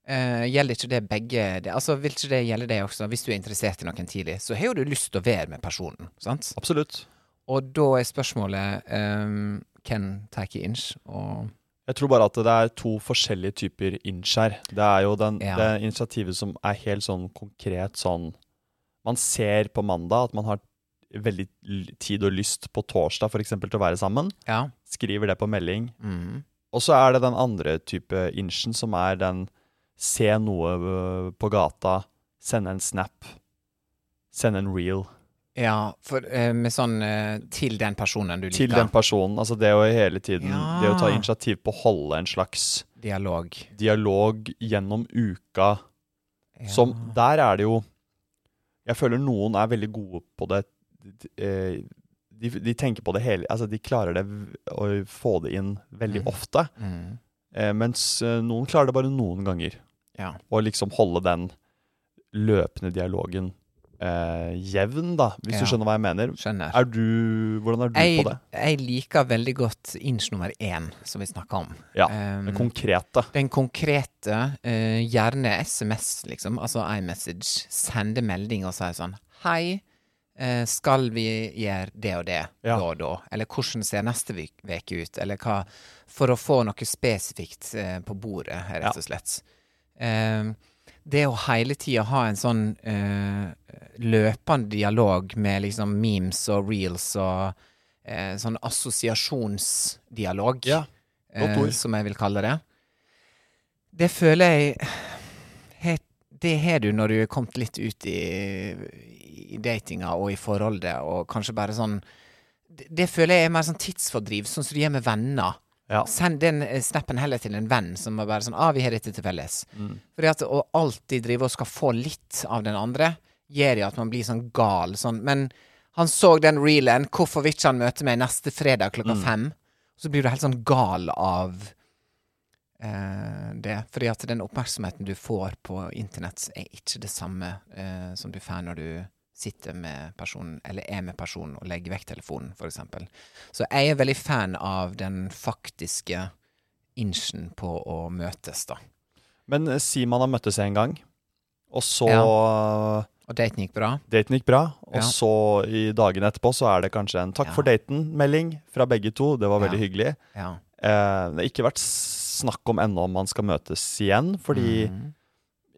B: Eh, gjelder ikke det begge det, Altså, Vil ikke det gjelde deg også? Hvis du er interessert i noen tidlig, så har jo du lyst til å være med personen. sant?
A: Absolutt.
B: Og da er spørsmålet ehm, Hvem tar ikke inch? Og
A: Jeg tror bare at det er to forskjellige typer inch her. Det er jo den,
B: Ja.
A: det initiativet som er helt sånn konkret sånn Man ser på mandag at man har veldig l- tid og lyst på torsdag for eksempel til å være sammen.
B: Ja.
A: Skriver det på melding.
B: Mm.
A: Og så er det den andre type inchen, som er den se noe øh, på gata, sende en snap, sende en reel
B: Ja, for eh, med sånn eh, Til den personen du liker.
A: til den personen. Altså det å hele tiden
B: Ja.
A: Det å ta initiativ på å holde en slags
B: Dialog.
A: dialog gjennom uka,
B: Ja.
A: som Der er det jo Jeg føler noen er veldig gode på det. eh, de, de tenker på det hele Altså, de klarer det v- å få det inn veldig
B: Mm.
A: ofte.
B: Mm.
A: Eh, mens eh, noen klarer det bare noen ganger.
B: Ja.
A: Og liksom holde den løpende dialogen eh, jevn, da, hvis
B: Ja.
A: du skjønner hva jeg mener.
B: Skjønner.
A: Er du Hvordan er du
B: Jeg,
A: på det?
B: jeg liker veldig godt inch nummer én, som vi snakka om.
A: Ja,
B: Um,
A: det konkrete.
B: den konkrete, eh, gjerne SMS, liksom, altså iMessage, sende melding og si sånn Hei, eh, skal vi gjøre det og det
A: Ja.
B: da og da? Eller hvordan ser neste vik- veke ut? Eller hva For å få noe spesifikt eh, på bordet, rett og slett. Eh, det å hele tida ha en sånn eh, løpende dialog med liksom memes og reels og eh, sånn assosiasjonsdialog,
A: Ja, godt ord.
B: Eh, som jeg vil kalle det. Det føler jeg he- Det har du når du er kommet litt ut i, i datinga og i forholdet, og kanskje bare sånn Det, det føler jeg er mer sånn tidsfordriv, sånn som du gjør med venner.
A: Ja.
B: Send den eh, snappen heller til en venn som er bare sånn ah, 'Vi har dette til felles'. Fordi at å alltid drive og skal få litt av den andre, gjør jo at man blir sånn gal. Sånn. Men han så den reelen, hvorfor vil ikke han møte meg neste fredag klokka fem? Så blir du helt sånn gal av eh, det. Fordi at den oppmerksomheten du får på internett, er ikke det samme eh, som du får når du sitter med personen, eller er med personen og legger vekk telefonen, for eksempel. Så jeg er veldig fan av den faktiske inchen på å møtes, da.
A: Men eh, si man har møttes en gang, og så
B: Og daten gikk bra.
A: Daten gikk bra, og
B: Ja.
A: så i dagene etterpå så er det kanskje en 'takk
B: Ja.
A: for daten'-melding fra begge to. Det var
B: Ja.
A: veldig hyggelig.
B: Ja.
A: Eh, det har ikke vært snakk om ennå om man skal møtes igjen, fordi
B: Mhm.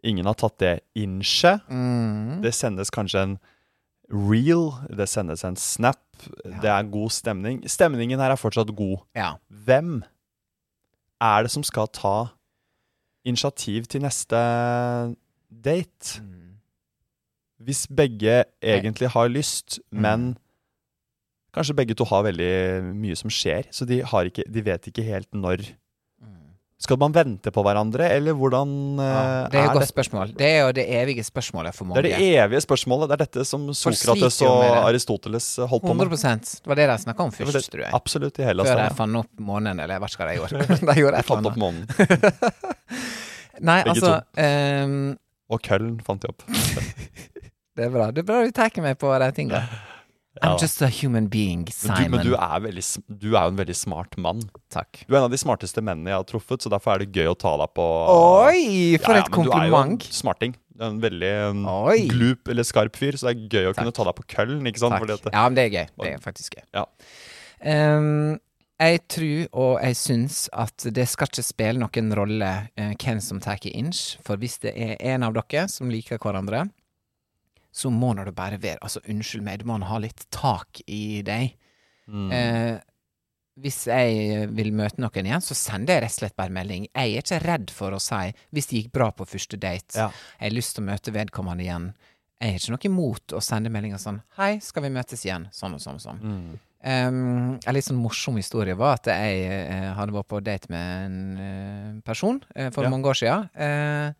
A: ingen har tatt det inn seg.
B: Mhm.
A: Det sendes kanskje en reel, det sendes en snap,
B: Ja.
A: det er god stemning. Stemningen her er fortsatt god.
B: Ja.
A: Hvem er det som skal ta initiativ til neste date?
B: Mhm.
A: Hvis begge egentlig har lyst,
B: Mm.
A: men kanskje begge to har veldig mye som skjer, så de, har ikke, de vet ikke helt når.
B: Mhm.
A: Skal man vente på hverandre, eller hvordan eh,
B: Det er jo et
A: er
B: godt
A: det?
B: spørsmål. Det er jo det evige spørsmålet for
A: Det
B: mange.
A: er det evige spørsmålet. Det er dette som
B: Folk
A: Sokrates
B: sliter jo
A: og
B: med det.
A: Aristoteles holdt på med.
B: 100 Det var det de snakka om
A: Det var
B: først,
A: det-
B: tror jeg.
A: Absolutt i hele
B: Før de
A: stedet.
B: fant opp månen, eller jeg vet ikke hva de gjorde. de gjorde et
A: Jeg fant
B: eller
A: opp
B: annet.
A: månen,
B: Nei,
A: Begge
B: altså ehm,
A: og køllen fant jeg opp.
B: Det er bra. Det er bra du tar meg på de tinga.
A: Ja.
B: I'm just a human being,
A: Men,
B: Simon.
A: du, men du, er veldig, sm- du er jo en veldig smart mann.
B: Takk.
A: Du er en av de smarteste mennene jeg har truffet, så derfor er det gøy å ta deg på
B: Oi, for
A: Ja, ja,
B: et
A: men
B: kompliment.
A: Du er jo en smarting. Du er en veldig um,
B: Oi.
A: glup eller skarp fyr, så det er gøy å kunne
B: Takk.
A: ta deg på køllen, ikke sant?
B: Takk.
A: Fordi at det,
B: Ja, men det er gøy. Det er faktisk gøy.
A: Sånn Ja.
B: Ehm, jeg tror og jeg syns at det skal ikke spille noen rolle eh, hvem som tar inch, for hvis det er en av dere som liker hverandre, så må nå det bare være Altså, unnskyld meg, du må nå ha litt tak i deg.
A: mm,
B: Eh, hvis jeg vil møte noen igjen, så sender jeg rett og slett bare melding. Jeg er ikke redd for å si, hvis det gikk bra på første date,
A: Ja.
B: jeg har lyst til å møte vedkommende igjen. Jeg har ikke noe imot å sende meldinger sånn Hei, skal vi møtes igjen? Sånn og sånn og sånn.
A: mm.
B: Um, en litt sånn morsom historie var at jeg eh, hadde vært på date med en eh, person eh, for
A: Ja.
B: mange år siden. Uh,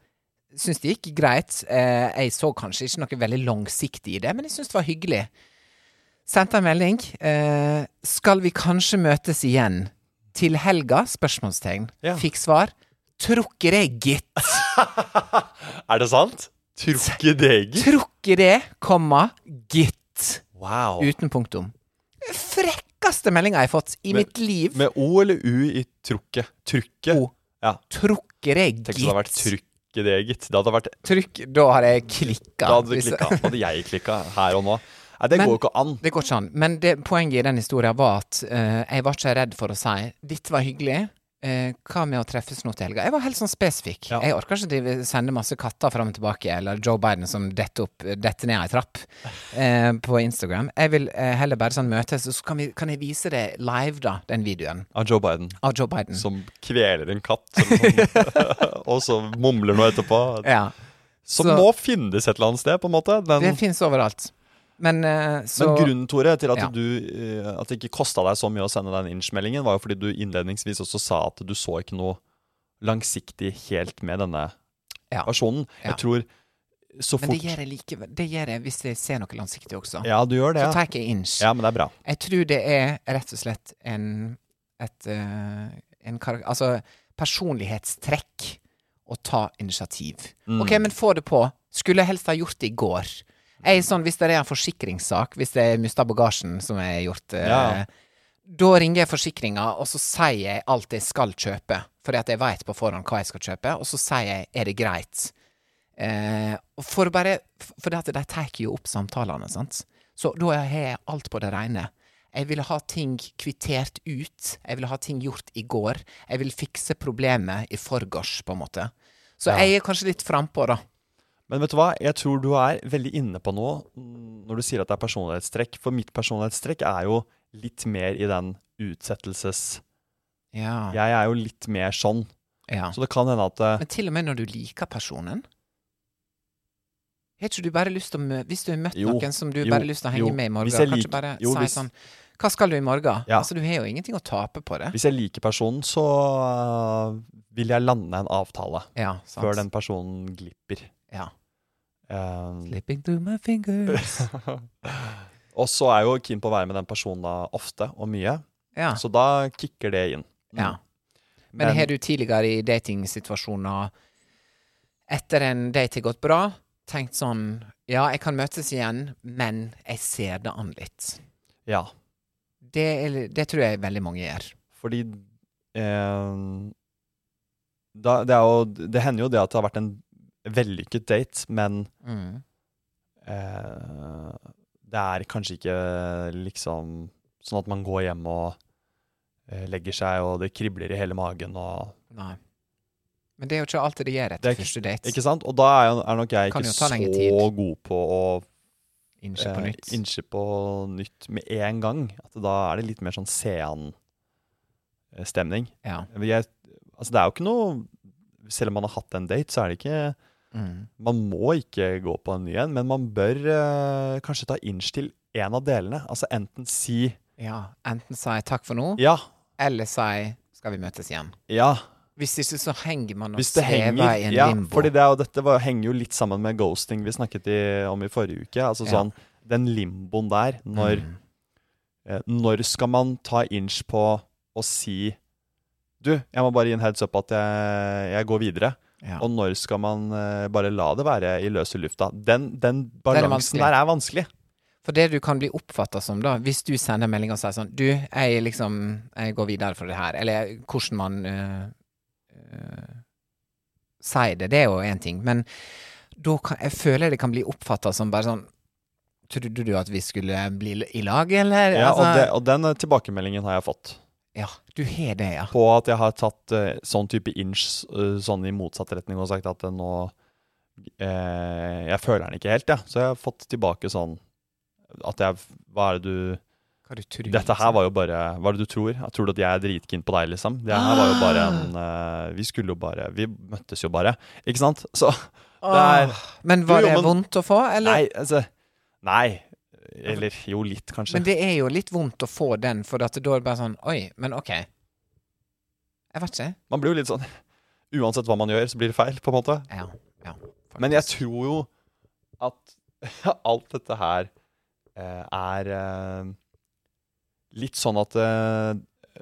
B: Syns det gikk greit. Eh, jeg så kanskje ikke noe veldig langsiktig i det, men jeg syns det var hyggelig. Sendte en melding. eh, skal vi kanskje møtes igjen til helga? Spørsmålstegn.
A: Ja.
B: Fikk svar. Trukker det, gitt.
A: Er det sant? Trukkedeger?
B: Trukker det, komma, gitt.
A: Wow.
B: Uten punktum. Frekkeste meldinga jeg har fått i
A: Men-
B: mitt liv.
A: Med O eller U i trukket? Trukket?
B: O.
A: Ja.
B: Trukkere,
A: Tenk så det hadde vært trukkedeget. Det hadde vært
B: Trykk, da har jeg klikka.
A: Da hadde du
B: Hvis-
A: klikka. Hadde jeg klikka her og nå. Nei, det
B: Men-
A: går jo ikke an.
B: Det går ikke an. Men det, poenget i den historien var at eh, jeg var ikke redd for å si 'dette var hyggelig'. eh, hva med å treffes nå til helga? Jeg var helt sånn spesifikk.
A: Ja.
B: Jeg orker ikke drive, sende masse katter fram og tilbake, eller Joe Biden som detter opp, detter ned ei trapp eh, på Instagram. Jeg vil eh, heller bare sånn møtes, og så kan, vi, kan jeg vise deg live, da, den videoen
A: Av Joe Biden,
B: av Joe Biden.
A: som kveler en katt, eller noe. og så mumler noe etterpå.
B: Ja.
A: Som
B: så-
A: må finnes et eller annet sted, på en måte. Den,
B: Det fins overalt. Men eh, så
A: men grunnen, Tore, til at,
B: Ja.
A: du, eh, at det ikke kosta deg så mye å sende den inch-meldingen, var jo fordi du innledningsvis også sa at du så ikke noe langsiktig helt med denne
B: Ja.
A: personen.
B: Ja.
A: Jeg tror så
B: Men det
A: fort.
B: gjør jeg likevel. Det gjør jeg hvis jeg ser noe langsiktig også.
A: Ja, du gjør det.
B: Så
A: ja.
B: tar jeg ikke inch.
A: Ja, men det er bra.
B: Jeg tror det er rett og slett en, et, eh, en karak- Altså personlighetstrekk å ta initiativ. OK, men få det på. Skulle jeg helst ha gjort det i går. Jeg er sånn, Hvis det er en forsikringssak, hvis jeg mister bagasjen, som jeg har gjort eh,
A: Ja.
B: Da ringer jeg forsikringa, og så sier jeg alt jeg skal kjøpe. Fordi at jeg veit på forhånd hva jeg skal kjøpe, og så sier jeg 'er det greit'? Eh, og for bare For det at de tar jo opp samtalene, sant. Så da har jeg alt på det rene. Jeg ville ha ting kvittert ut. Jeg ville ha ting gjort i går. Jeg vil fikse problemet i forgårs, på en måte. Så jeg er kanskje litt frampå, da.
A: Men vet du hva, jeg tror du er veldig inne på noe mm, når du sier at det er personlighetstrekk. For mitt personlighetstrekk er jo litt mer i den utsettelses...
B: Ja.
A: Jeg er jo litt mer sånn.
B: ja.
A: Så det kan hende at eh,
B: Men til og med når du liker personen Har ikke du bare lyst til å mø Hvis du har møtt
A: Jo,
B: noen som du
A: jo,
B: bare har lyst til å henge
A: jo.
B: med i
A: Hvis
B: morgen,
A: jeg
B: kanskje
A: liker-
B: bare
A: jo,
B: si
A: hvis-
B: sånn Hva skal du i morgen?
A: Ja.
B: Altså, du har jo ingenting å tape på det.
A: hvis jeg liker personen, så eh, vil jeg lande en avtale
B: Ja, sant.
A: før den personen glipper.
B: Ja.
A: Eh,
B: Slipping through my fingers.
A: og så er jeg jo keen på å være med den personen da ofte og mye,
B: Ja.
A: så da kicker det inn. Mm.
B: ja. Men har du tidligere i datingsituasjoner, etter en date har gått bra, tenkt sånn Ja, jeg kan møtes igjen, men jeg ser det an litt.
A: Ja,
B: Det, er, det tror jeg veldig mange gjør.
A: fordi eh, da, det, er jo, det hender jo det at det har vært en vellykket date, men
B: Mm.
A: eh, det er kanskje ikke liksom sånn at man går hjem og eh, legger seg, og det kribler i hele magen og
B: Nei. Men det er jo ikke alltid det gjør
A: Det er
B: etter
A: ikke-
B: første date.
A: Ikke sant? Og da er, jo- er nok jeg
B: Kan jo
A: ikke
B: ta
A: så
B: lenge tid.
A: god på å
B: Innsjekk på
A: eh,
B: nytt.
A: innse på nytt med en gang. At da er det litt mer sånn eh, sean-stemning.
B: ja.
A: Jeg, altså det er jo ikke noe Selv om man har hatt en date, så er det ikke
B: Mm.
A: Man må ikke gå på en ny en, men man bør eh, kanskje ta inch til en av delene. Altså enten si
B: ja. Enten si takk for nå,
A: ja,
B: eller si skal vi møtes igjen.
A: ja,
B: Hvis ikke så henger man og
A: hvis det henger.
B: svever i en
A: Ja,
B: limbo.
A: fordi det er jo, dette var, henger jo litt sammen med ghosting vi snakket i, om i forrige uke. Altså
B: Ja.
A: sånn, Den limboen der, når
B: Mm.
A: Eh, Når skal man ta inch på å si Du, jeg må bare gi en heads up at jeg, jeg går videre.
B: ja.
A: Og når skal man eh, bare la det være i løse lufta? Den, den
B: er
A: balansen
B: vanskelig.
A: der er vanskelig.
B: For det du kan bli oppfatta som, da, hvis du sender melding og sier sånn Du, jeg liksom Jeg går videre fra det her. Eller hvordan man øh, øh, sier det. Det er jo én ting. Men da kan, jeg føler det kan bli oppfatta som bare sånn Trodde du at vi skulle bli i lag, eller?
A: Ja, og,
B: Altså,
A: det, og den eh, tilbakemeldingen har jeg fått.
B: ja du har det, ja.
A: På at jeg har tatt eh, sånn type inch eh, sånn i motsatt retning og sagt at eh, nå eh, Jeg føler den ikke helt, jeg. Ja. Så jeg har fått tilbake sånn at jeg Hva er det du
B: Hva du tror.
A: Dette her var jo bare Hva er det du tror? Jeg tror du at jeg er dritkeen på deg, liksom? Det her var jo bare en
B: Ah.
A: eh, Vi skulle jo bare Vi møttes jo bare. Ikke sant? Så
B: Ah.
A: det er-
B: Men var
A: Jo, jo,
B: det
A: men-
B: vondt å få, eller?
A: Nei, altså Nei. Eller jo, litt, kanskje.
B: Men det er jo litt vondt å få den, for at da er det bare sånn Oi, men OK. Jeg vet ikke.
A: Man blir jo litt sånn Uansett hva man gjør, så blir det feil, på en måte.
B: Ja. ja faktisk.
A: Men jeg tror jo at alt dette her eh, er eh, litt sånn at eh,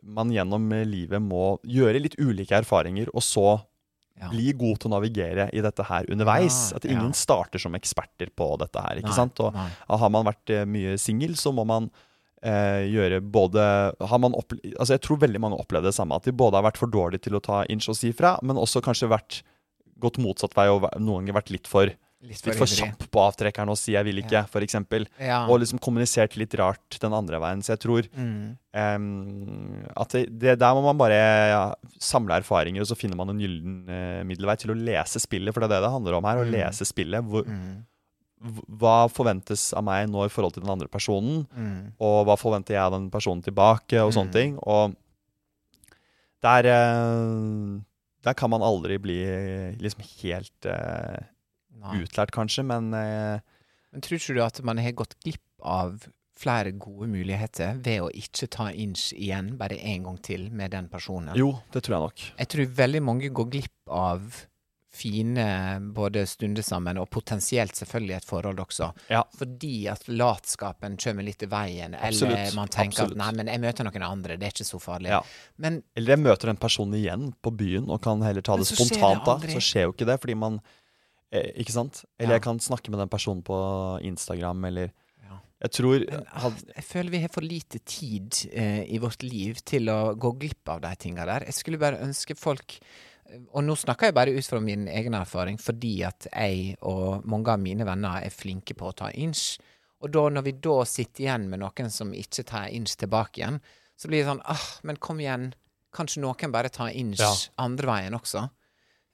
A: man gjennom eh, livet må gjøre litt ulike erfaringer, og så
B: Ja.
A: bli god til å navigere i dette her underveis.
B: Ja,
A: at ingen
B: ja.
A: starter som eksperter på dette her. ikke
B: Nei,
A: sant? Og
B: nei.
A: har man vært eh, mye singel, så må man eh, gjøre både har man opple altså Jeg tror veldig mange opplever det samme. At de både har vært for dårlige til å ta inch og si fra, men også kanskje vært gått motsatt vei og væ- noen ganger vært litt for,
B: Litt
A: litt for
B: ivrig.
A: kjapp på avtrekkeren og si 'jeg vil ikke',
B: Ja.
A: for f.eks.
B: Ja.
A: Og liksom kommunisert litt rart den andre veien. Så jeg tror
B: mm.
A: Ehm, at det, det der må man bare ja, samle erfaringer, og så finner man en gyllen eh, middelvei til å lese spillet, for det er det det handler om her. Å
B: Mm.
A: lese spillet. Hvor,
B: Mm.
A: hv- Hva forventes av meg nå i forhold til den andre personen,
B: Mm.
A: og hva forventer jeg av den personen tilbake, og
B: Mm.
A: sånne ting. Og der eh, Der kan man aldri bli liksom helt eh,
B: Nei.
A: utlært, kanskje, men eh,
B: Men tror ikke du at man har gått glipp av flere gode muligheter ved å ikke ta inch igjen bare en gang til med den personen?
A: jo, det tror jeg nok.
B: Jeg tror veldig mange går glipp av fine både stunder sammen, og potensielt selvfølgelig et forhold også.
A: Ja.
B: Fordi at latskapen kommer litt i veien,
A: Absolutt,
B: eller man tenker
A: absolutt.
B: at 'nei, men jeg møter noen andre, det er ikke så farlig'.
A: Ja.
B: Men
A: Eller jeg møter den personen igjen på byen og kan heller ta
B: Men
A: det
B: så skjer det
A: spontant da.
B: aldri.
A: Så skjer jo ikke det, fordi man eh, Ikke sant? Eller
B: Ja.
A: jeg kan snakke med den personen på Instagram, eller
B: Ja.
A: Jeg tror
B: Men ah,
A: had,
B: jeg føler vi har for lite tid eh, i vårt liv til å gå glipp av de tinga der. Jeg skulle bare ønske folk eh, Og nå snakker jeg bare ut fra min egen erfaring, fordi at jeg og mange av mine venner er flinke på å ta inch. Og da når vi da sitter igjen med noen som ikke tar inch tilbake igjen, så blir det sånn ah, men kom igjen. Kanskje noen bare tar inch
A: Ja.
B: andre veien også.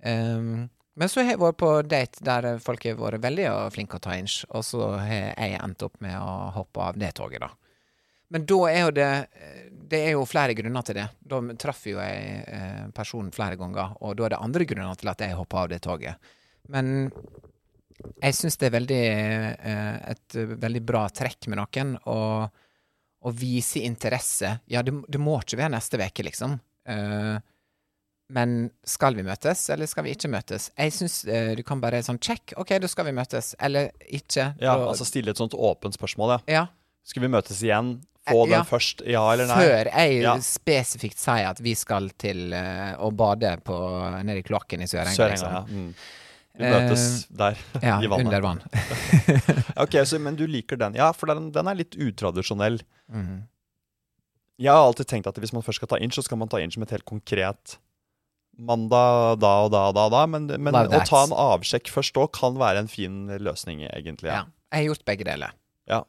B: Ehm, men så har jeg vært på date der eh, folk har vært veldig eh, flinke å ta inch, og så har jeg endt opp med å hoppe av det toget, da. Men da er jo det eh, Det er jo flere grunner til det. Da traff jo jeg eh, personen flere ganger, og da er det andre grunner til at jeg hoppa av det toget. Men jeg syns det er veldig, eh, et eh, veldig bra trekk med noen å, å vise interesse. Ja, det, det må ikke være neste uke, liksom. Eh, men skal vi møtes, eller skal vi ikke møtes? Jeg syns eh, du kan bare sånn check, OK, da skal vi møtes. Eller ikke.
A: ja,
B: da,
A: altså stille et sånt åpent spørsmål, ja.
B: ja.
A: Skal vi møtes igjen? Få
B: Eh, ja.
A: den først, ja eller nei?
B: Før jeg
A: Ja.
B: spesifikt sier at vi skal til eh, å bade på, nede i kloakken i Sørenga.
A: Sørenga,
B: liksom. Eh.
A: ja. Mm. Vi møtes der,
B: Ja,
A: i vannet.
B: under vann.
A: Ok, så, Men du liker den. Ja, for den, den er litt utradisjonell.
B: Mhm.
A: Jeg har alltid tenkt at hvis man først skal ta inch, så skal man ta inch med et helt konkret mandag, da og da og da, og da. Men, men
B: Love
A: å
B: that.
A: ta en avsjekk først da kan være en fin løsning, egentlig.
B: Ja.
A: Ja.
B: Jeg har gjort begge deler.
A: Ja.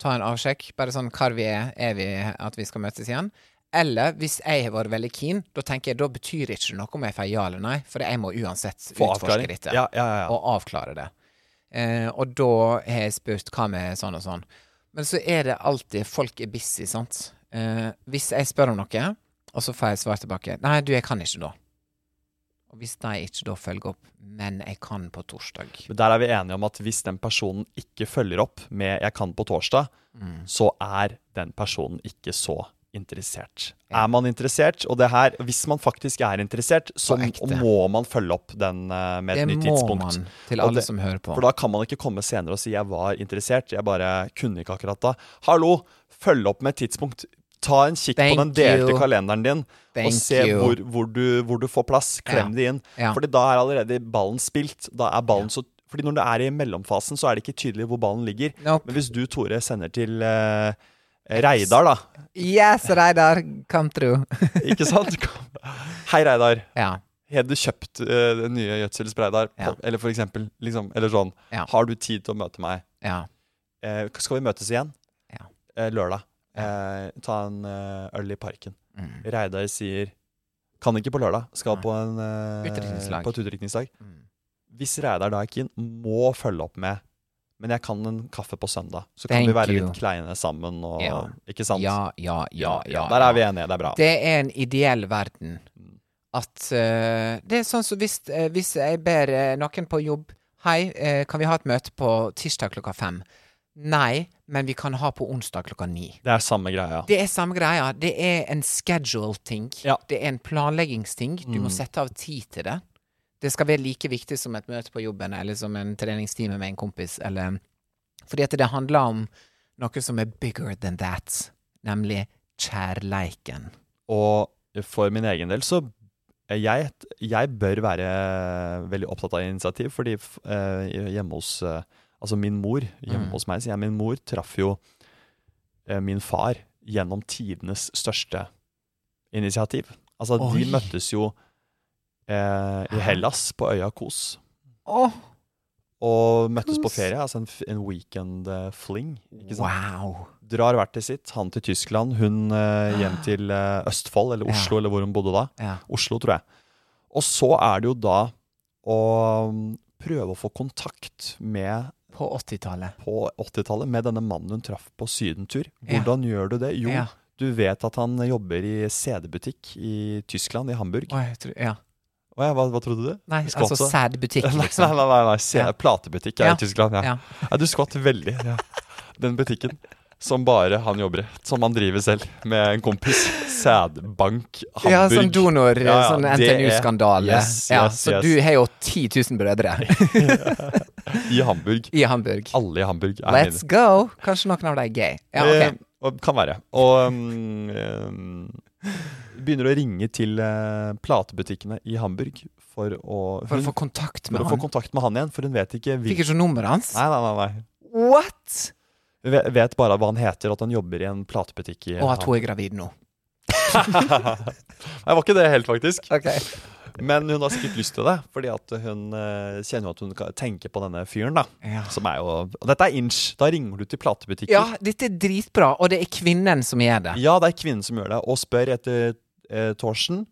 B: Ta en avsjekk, bare sånn hvor vi er, er vi at vi skal møtes igjen? Eller hvis jeg har vært veldig keen, da tenker jeg da betyr ikke det noe om jeg får ja eller nei, for jeg må uansett
A: Få
B: utforske
A: avklaring.
B: dette
A: Ja, ja, ja, ja.
B: og avklare det. Eh, og da har jeg spurt hva med sånn og sånn. Men så er det alltid folk er busy, sant. Eh, hvis jeg spør om noe, og så får jeg svar tilbake Nei, du, jeg kan ikke da. Og hvis de ikke da følger opp Men jeg kan på torsdag.
A: Men der er vi enige om at hvis den personen ikke følger opp med 'jeg kan på torsdag',
B: Mm.
A: så er den personen ikke så interessert.
B: Ja.
A: Er man interessert, og det her, hvis man faktisk er interessert, så
B: På ekte.
A: må man følge opp den eh, med et
B: Det
A: nytt
B: må
A: tidspunkt.
B: man til
A: Og
B: alle
A: det-
B: som hører på.
A: For da kan man ikke komme senere og si 'jeg var interessert', 'jeg bare kunne ikke akkurat da'. Hallo, følg opp med et tidspunkt. Ta en kikk
B: Thank
A: på den delte
B: you.
A: kalenderen din,
B: Thank
A: og se
B: you.
A: hvor, hvor, du, hvor du får plass. Klem
B: Ja.
A: det inn.
B: Ja.
A: Fordi da er allerede ballen spilt. Da er ballen så Fordi når du er i mellomfasen, så er det ikke tydelig hvor ballen ligger.
B: Nope.
A: Men hvis du, Tore, sender til eh, Reidar, da.
B: Yes, Reidar! Come through.
A: Ikke sant? Hei, Reidar.
B: ja.
A: Har du kjøpt eh, den nye gjødselspreidar?
B: Ja.
A: Eller for eksempel, liksom, eller sånn.
B: Ja.
A: Har du tid til å møte meg?
B: ja.
A: Eh, skal vi møtes igjen?
B: Ja.
A: Eh, lørdag. Eh, ta en eh, øl i parken.
B: Mm.
A: Reidar sier Kan ikke på lørdag. Skal på en eh,
B: Utdrikningslag.
A: På et utdrikningslag.
B: Mm.
A: Hvis Reidar da er keen, må følge opp med Men jeg kan en kaffe på søndag. Så kan
B: Thank
A: vi være
B: you.
A: litt kleine sammen og
B: Ja.
A: Ikke sant?
B: Ja, ja, ja, ja.
A: Der
B: ja.
A: er vi enige. Det er bra.
B: Det er en ideell verden. At eh, Det er sånn som hvis, eh, hvis jeg ber eh, noen på jobb Hei, eh, kan vi ha et møte på tirsdag klokka fem? Nei, men vi kan ha på onsdag klokka ni.
A: Det er samme greia.
B: Det er samme greia. Det er en schedule-ting.
A: Ja.
B: Det er en planleggingsting. Du må sette av tid til det. Det skal være like viktig som et møte på jobben, eller som en treningstime med en kompis, eller Fordi at det handler om noe som er bigger than that, nemlig kjærleiken.
A: Og for min egen del så eh, jeg, jeg bør være veldig opptatt av initiativ, fordi f- eh, hjemme hos eh, Altså min mor,
B: Mm.
A: hjemme hos meg, sier jeg, min mor traff jo eh, min far gjennom tidenes største initiativ. Altså,
B: Oi.
A: de møttes jo eh, i Hellas, på øya Kos,
B: Åh,
A: og møttes på
B: Kos.
A: ferie. Altså en, f- en weekend eh, fling. Ikke sant?
B: wow!
A: Drar hvert til sitt. Han til Tyskland, hun eh, hjem til eh, Østfold, eller
B: Ja.
A: Oslo, eller hvor hun bodde da.
B: Ja.
A: Oslo, tror jeg. Og så er det jo da å um, prøve å få kontakt med
B: På 80-tallet.
A: på 80-tallet med denne mannen hun traff på sydentur.
B: Ja.
A: Hvordan gjør du det? Jo,
B: Ja.
A: du vet at han jobber i CD-butikk i Tyskland, i Hamburg.
B: Åh, jeg tror, ja.
A: Å ja, hva, hva trodde du?
B: Nei,
A: Du skvatt
B: altså
A: så?
B: sad butikk,
A: Nei, nei,
B: liksom.
A: nei, nei, nei. Se,
B: Ja.
A: platebutikk er
B: Ja.
A: i Tyskland, ja.
B: Ja.
A: ja. Du skvatt veldig, ja. den butikken. som bare han jobber i. Som han driver selv, med en kompis. Sædbank Hamburg.
B: Ja, sånn donor,
A: Ja, ja,
B: sånn
A: det er-
B: NTNU-skandale.
A: Yes,
B: ja,
A: yes,
B: så
A: yes.
B: du har jo 10 000 brødre
A: I Hamburg.
B: i Hamburg.
A: Alle i Hamburg er
B: Let's
A: mine.
B: go! Kanskje noen av dem er gay. Ja,
A: Eh,
B: ok.
A: og- kan være. Og um, um, begynner å ringe til eh, platebutikkene i Hamburg for å
B: For
A: hun-
B: å få kontakt
A: mm. for
B: med
A: å få
B: han.
A: kontakt med han igjen, for hun vet ikke
B: Fikk
A: hvilken
B: ikke nummeret hans.
A: Nei, nei, nei. nei.
B: What?!
A: Hun ve- Vet bare hva han heter, og at han jobber i en platebutikk i
B: Og at hun
A: Hamburg.
B: er gravid nå.
A: Nei, var ikke det helt, faktisk.
B: Ok.
A: Men hun har sikkert lyst til det, fordi at hun eh, kjenner jo at hun kan- tenker på denne fyren, da.
B: Ja.
A: Som er jo Og dette er inch. Da ringer du til platebutikker.
B: ja, dette er dritbra, og det er kvinnen som gjør det.
A: Ja, det er kvinnen som gjør det, og spør etter eh, Torsen.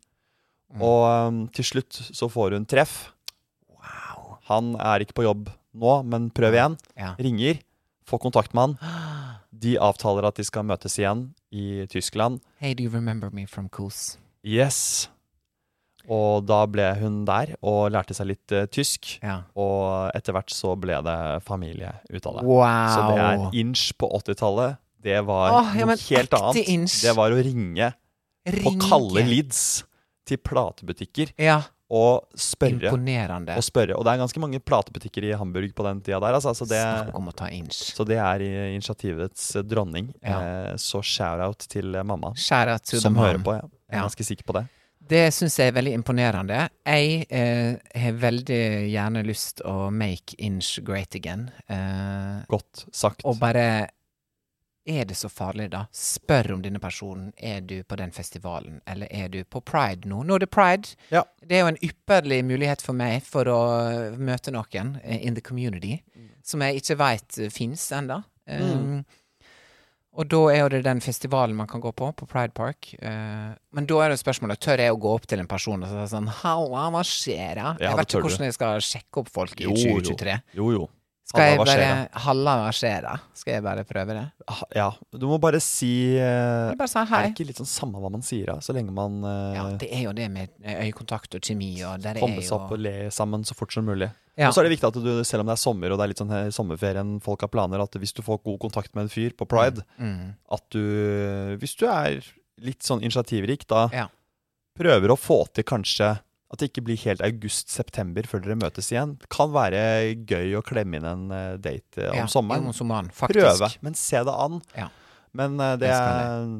B: Mm.
A: Og um, til slutt så får hun treff.
B: Wow.
A: Han er ikke på jobb nå, men prøv igjen.
B: Ja.
A: Ringer. Får kontakt med han. De avtaler at de skal møtes igjen i Tyskland.
B: Hey, do you remember me from Kos?
A: Yes. Og da ble hun der og lærte seg litt eh, tysk.
B: Ja.
A: Og etter hvert så ble det familie ut av det. Så det
B: Wow.
A: er inch på 80-tallet. Det var
B: Åh, ja, men
A: noe helt
B: ekte
A: annet.
B: inch.
A: Det var å ringe på
B: Ringe.
A: kalde lids til platebutikker
B: Ja.
A: og spørre.
B: Imponerende.
A: Og spørre. Og det er ganske mange platebutikker i Hamburg på den tida der, altså. Så det,
B: Snakk om å ta inch.
A: så det er i- initiativets eh, dronning.
B: Ja.
A: Eh, så shout-out til eh, mamma,
B: Shout out to the
A: som
B: mom.
A: hører på. Ja. Jeg
B: Ja.
A: er ganske sikker på det.
B: Det syns jeg er veldig imponerende. Jeg eh, har veldig gjerne lyst å make inch great again. Eh,
A: Godt sagt.
B: og bare Er det så farlig, da? Spør om denne personen. Er du på den festivalen, eller er du på pride nå? Nå er det pride.
A: Ja.
B: Det er jo en ypperlig mulighet for meg for å møte noen eh, in the community
A: Mm.
B: som jeg ikke eh, veit fins ennå. Um, Og da er jo det den festivalen man kan gå på, på Pride Park. Eh, men da er det spørsmålet tør jeg å gå opp til en person og si sånn Halla, hva skjer? da?» jeg
A: Ja, det
B: vet
A: tør
B: ikke
A: du.
B: hvordan jeg skal sjekke opp folk i
A: Jo, jo.
B: 2023.
A: Jo, jo.
B: Skal jeg
A: Halla, hva skjer
B: bare Halla, hva skjer da? Skal jeg bare prøve det?
A: Ah, Ja. Du må bare si eh,
B: Eller bare si
A: Er
B: hei.
A: det ikke litt sånn samme hva man sier, da? Så lenge man eh,
B: Ja, det er jo det med eh, øyekontakt og kjemi og der er
A: Håndes
B: jo
A: opp og le sammen så fort som mulig.
B: Ja.
A: Og så er det viktig at du, selv om det er sommer og det er litt sånn her sommerferie enn folk har planer, at hvis du får god kontakt med en fyr på pride,
B: mm,
A: at du Hvis du er litt sånn initiativrik, da
B: Ja.
A: prøver å få til kanskje at det ikke blir helt august-september før dere møtes igjen. Det kan være gøy å klemme inn en eh, date eh, om
B: ja,
A: sommeren.
B: jo, Som mann, faktisk.
A: Prøve, men se det an.
B: Ja.
A: Men eh, det
B: Jeg skal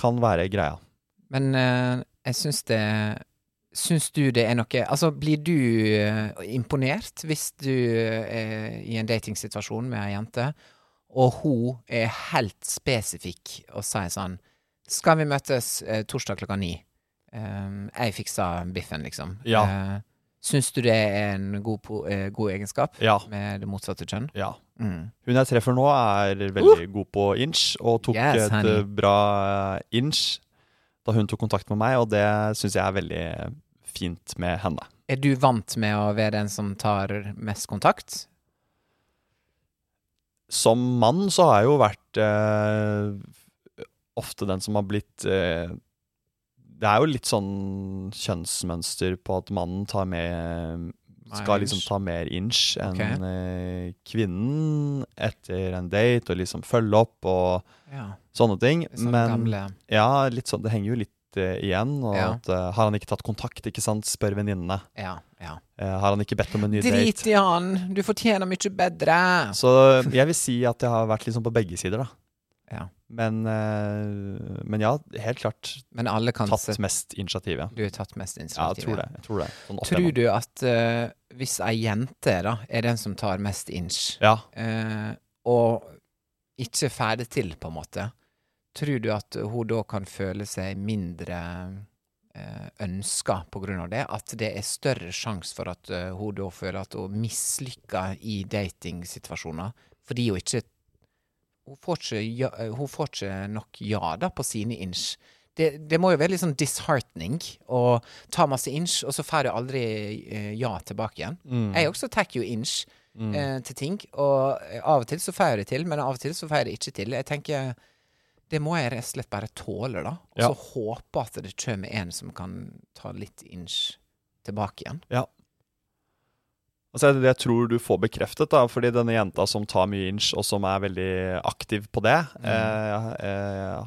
A: kan være greia.
B: Men eh, jeg syns det Syns du det er noe Altså, blir du eh, imponert hvis du er i en datingsituasjon med ei jente, og hun er helt spesifikk og sier sånn Skal vi møtes eh, torsdag klokka ni? Ehm, jeg fiksa biffen, liksom.
A: Ja.
B: Eh, syns du det er en god, po eh, god egenskap
A: Ja.
B: med det motsatte kjønn?
A: ja.
B: Mm.
A: Hun jeg treffer nå, er veldig god på inch, og tok
B: Uh! Yes,
A: et
B: honey.
A: eh, bra eh, inch da hun tok kontakt med meg, og det syns jeg er veldig fint med henne.
B: Er du vant med å være den som tar mest kontakt?
A: Som mann så har jeg jo vært eh, ofte den som har blitt eh, Det er jo litt sånn kjønnsmønster på at mannen tar med
B: Mer
A: Skal liksom
B: inch.
A: ta mer inch enn
B: Ok.
A: eh, kvinnen etter en date, og liksom følge opp og
B: Ja.
A: sånne ting.
B: Sånn
A: Men
B: gamle
A: Ja, litt sånn, det henger jo litt eh, igjen. Og
B: Ja.
A: at, eh, har han ikke tatt kontakt, ikke sant? Spør venninnene.
B: Ja, ja.
A: Eh, har han ikke bedt om en ny
B: Drit
A: date?
B: i han, du fortjener mye bedre.
A: Så jeg vil si at jeg har vært liksom på begge sider, da.
B: Ja.
A: Men, eh, men ja, helt klart
B: Men alle kan
A: tatt
B: se
A: mest initiativ. Ja,
B: Du er tatt mest
A: ja jeg
B: initiativ.
A: tror det. Jeg tror det. Sånn opp
B: Tror
A: igjennom.
B: du at eh, hvis ei jente da, er den som tar mest inch,
A: Ja.
B: eh, og ikke ferdig til, på en måte, tror du at hun da kan føle seg mindre eh, ønska på grunn av det? At det er større sjanse for at eh, hun da føler at hun mislykker i datingsituasjoner fordi hun ikke hun får ikke, ja, eh, hun får ikke nok ja da på sine inch. Det, det må jo være litt sånn disheartening å ta masse inch, og så får du aldri eh, ja tilbake igjen.
A: Mm.
B: Jeg også tar jo inch eh, til ting, og eh, av og til så får jeg det til, men av og til så får jeg det ikke til. Jeg tenker det må jeg rett og slett bare tåle, da. Og
A: Ja.
B: så håpe at det kommer en som kan ta litt inch tilbake igjen.
A: ja. Altså, det jeg tror du får bekreftet, da, fordi denne jenta som tar mye inch, og som er veldig aktiv på det eh, eh,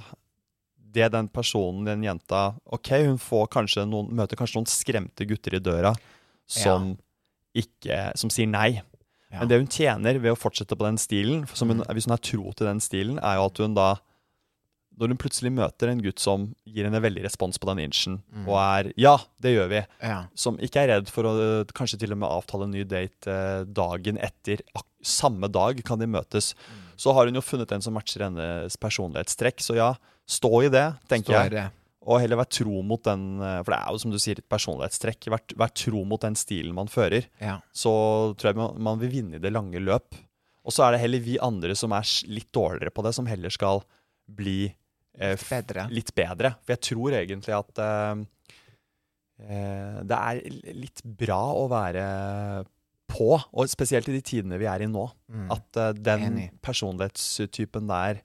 A: Det den personen, den jenta Ok, hun får kanskje noen, møter kanskje noen skremte gutter i døra som, ikke, som sier nei.
B: Ja.
A: Men det hun tjener ved å fortsette på den stilen, for som hun, hvis hun er tro til den stilen, er jo at hun da Når hun plutselig møter en gutt som gir henne veldig respons på den inchen, og er 'ja, det gjør vi',
B: Ja.
A: som ikke er redd for å eh, kanskje til og med avtale en ny date eh, dagen etter. Ak samme dag kan de møtes. Så har hun jo funnet en som matcher hennes personlighetstrekk. Så ja, stå i det, tenker
B: Står
A: jeg.
B: det.
A: Og heller være tro mot den eh, For det er jo som du sier, et personlighetstrekk. Vær, vær tro mot den stilen man fører.
B: Ja.
A: Så tror jeg man, man vil vinne i det lange løp. Og så er det heller vi andre som er s- litt dårligere på det, som heller skal bli eh,
B: Litt bedre.
A: litt bedre. For jeg tror egentlig at eh, eh, det er l- litt bra å være på, og spesielt i de tidene vi er i nå,
B: Mm.
A: at eh, den
B: Enig.
A: personlighetstypen der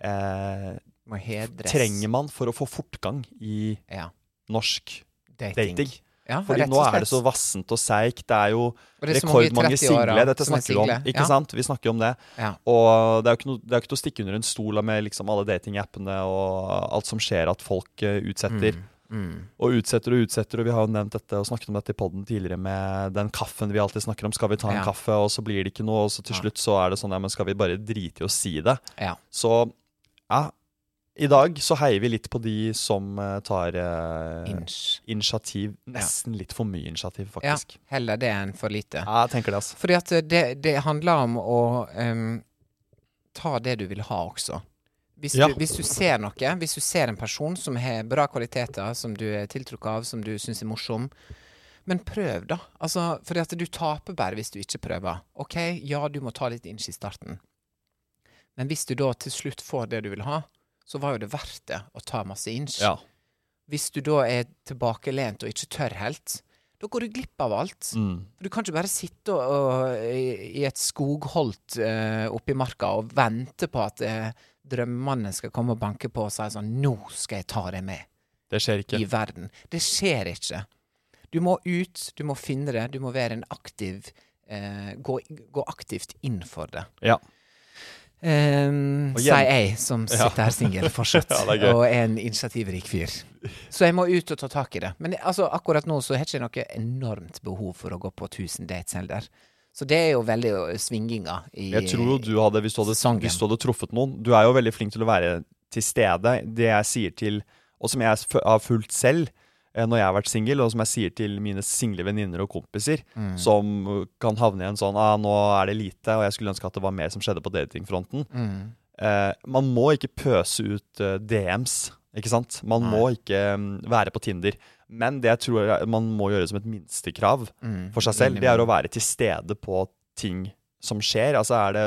A: eh,
B: Må hedres.
A: trenger man for å få fortgang i
B: ja.
A: norsk
B: dating.
A: dating.
B: Ja,
A: Fordi
B: rett
A: nå
B: og
A: er det
B: slett.
A: så vassent og seigt. Det er jo
B: Og det er så mange i
A: rekordmange
B: 30-åra
A: single. Dette
B: som er
A: snakker vi om.
B: single.
A: Ikke
B: ja.
A: sant? Vi snakker om det.
B: Ja.
A: Og det er jo ikke noe- det er jo ikke til å stikke under en stol da med liksom alle datingappene og alt som skjer at folk eh, utsetter.
B: Mm.
A: Og utsetter og utsetter, og vi har jo nevnt dette og snakket om dette i podden tidligere med den kaffen vi alltid snakker om. Skal vi ta en
B: Ja.
A: kaffe, og så blir det ikke noe, og så til
B: Ja.
A: slutt så er det sånn, ja, men skal vi bare drite i å si det?
B: Ja.
A: Så ja, i dag så heier vi litt på de som eh, tar eh,
B: Inch.
A: initiativ. Nesten litt for mye initiativ,
B: Ja,
A: faktisk.
B: heller det enn for lite.
A: Ja, jeg tenker det, altså.
B: Fordi at det, det handler om å ehm, ta det du vil ha også. Hvis,
A: Ja.
B: du, hvis du ser noe, hvis du ser en person som har bra kvaliteter, som du er tiltrukket av, som du syns er morsom, men prøv, da. Altså, fordi at du taper bare hvis du ikke prøver. OK, ja, du må ta litt inch i starten, men hvis du da til slutt får det du vil ha, så var jo det verdt det å ta masse inch.
A: Ja.
B: Hvis du da er tilbakelent og ikke tør helt, da går du glipp av alt.
A: Mm.
B: For du kan ikke bare sitte og, og, i i et skogholt eh, oppe i marka og vente på at eh, drømmene skal komme og banke på og si sånn Nå skal jeg ta deg med
A: Det skjer ikke.
B: i verden. Det skjer ikke. Du må ut, du må finne det, du må være en aktiv eh, gå, gå aktivt inn for det.
A: Ja.
B: Um,
A: Og
B: sier
A: gjen-
B: jeg, som sitter her singel fortsatt,
A: Ja, det er gøy.
B: og er en initiativrik fyr. Så jeg må ut og ta tak i det. Men altså, akkurat nå så har jeg ikke noe enormt behov for å gå på 1000 dates heller. Så det er jo veldig ø, svinginga i
A: Jeg tror jo du hadde, hvis du hadde,
B: sesongen.
A: hvis du hadde truffet noen Du er jo veldig flink til å være til stede. Det jeg sier til, og som jeg f- har fulgt selv eh, når jeg har vært singel, og som jeg sier til mine single venninner og kompiser, som eh, kan havne i en sånn ah, 'Nå er det lite, og jeg skulle ønske at det var mer som skjedde på datingfronten'.
B: Mm.
A: Eh, man må ikke pøse ut eh, DMs, ikke sant? Man må ikke mm, være på Tinder. Men det jeg tror jeg man må gjøre som et minstekrav
B: Mm.
A: for seg selv, det er å være til stede på ting som skjer. Altså er det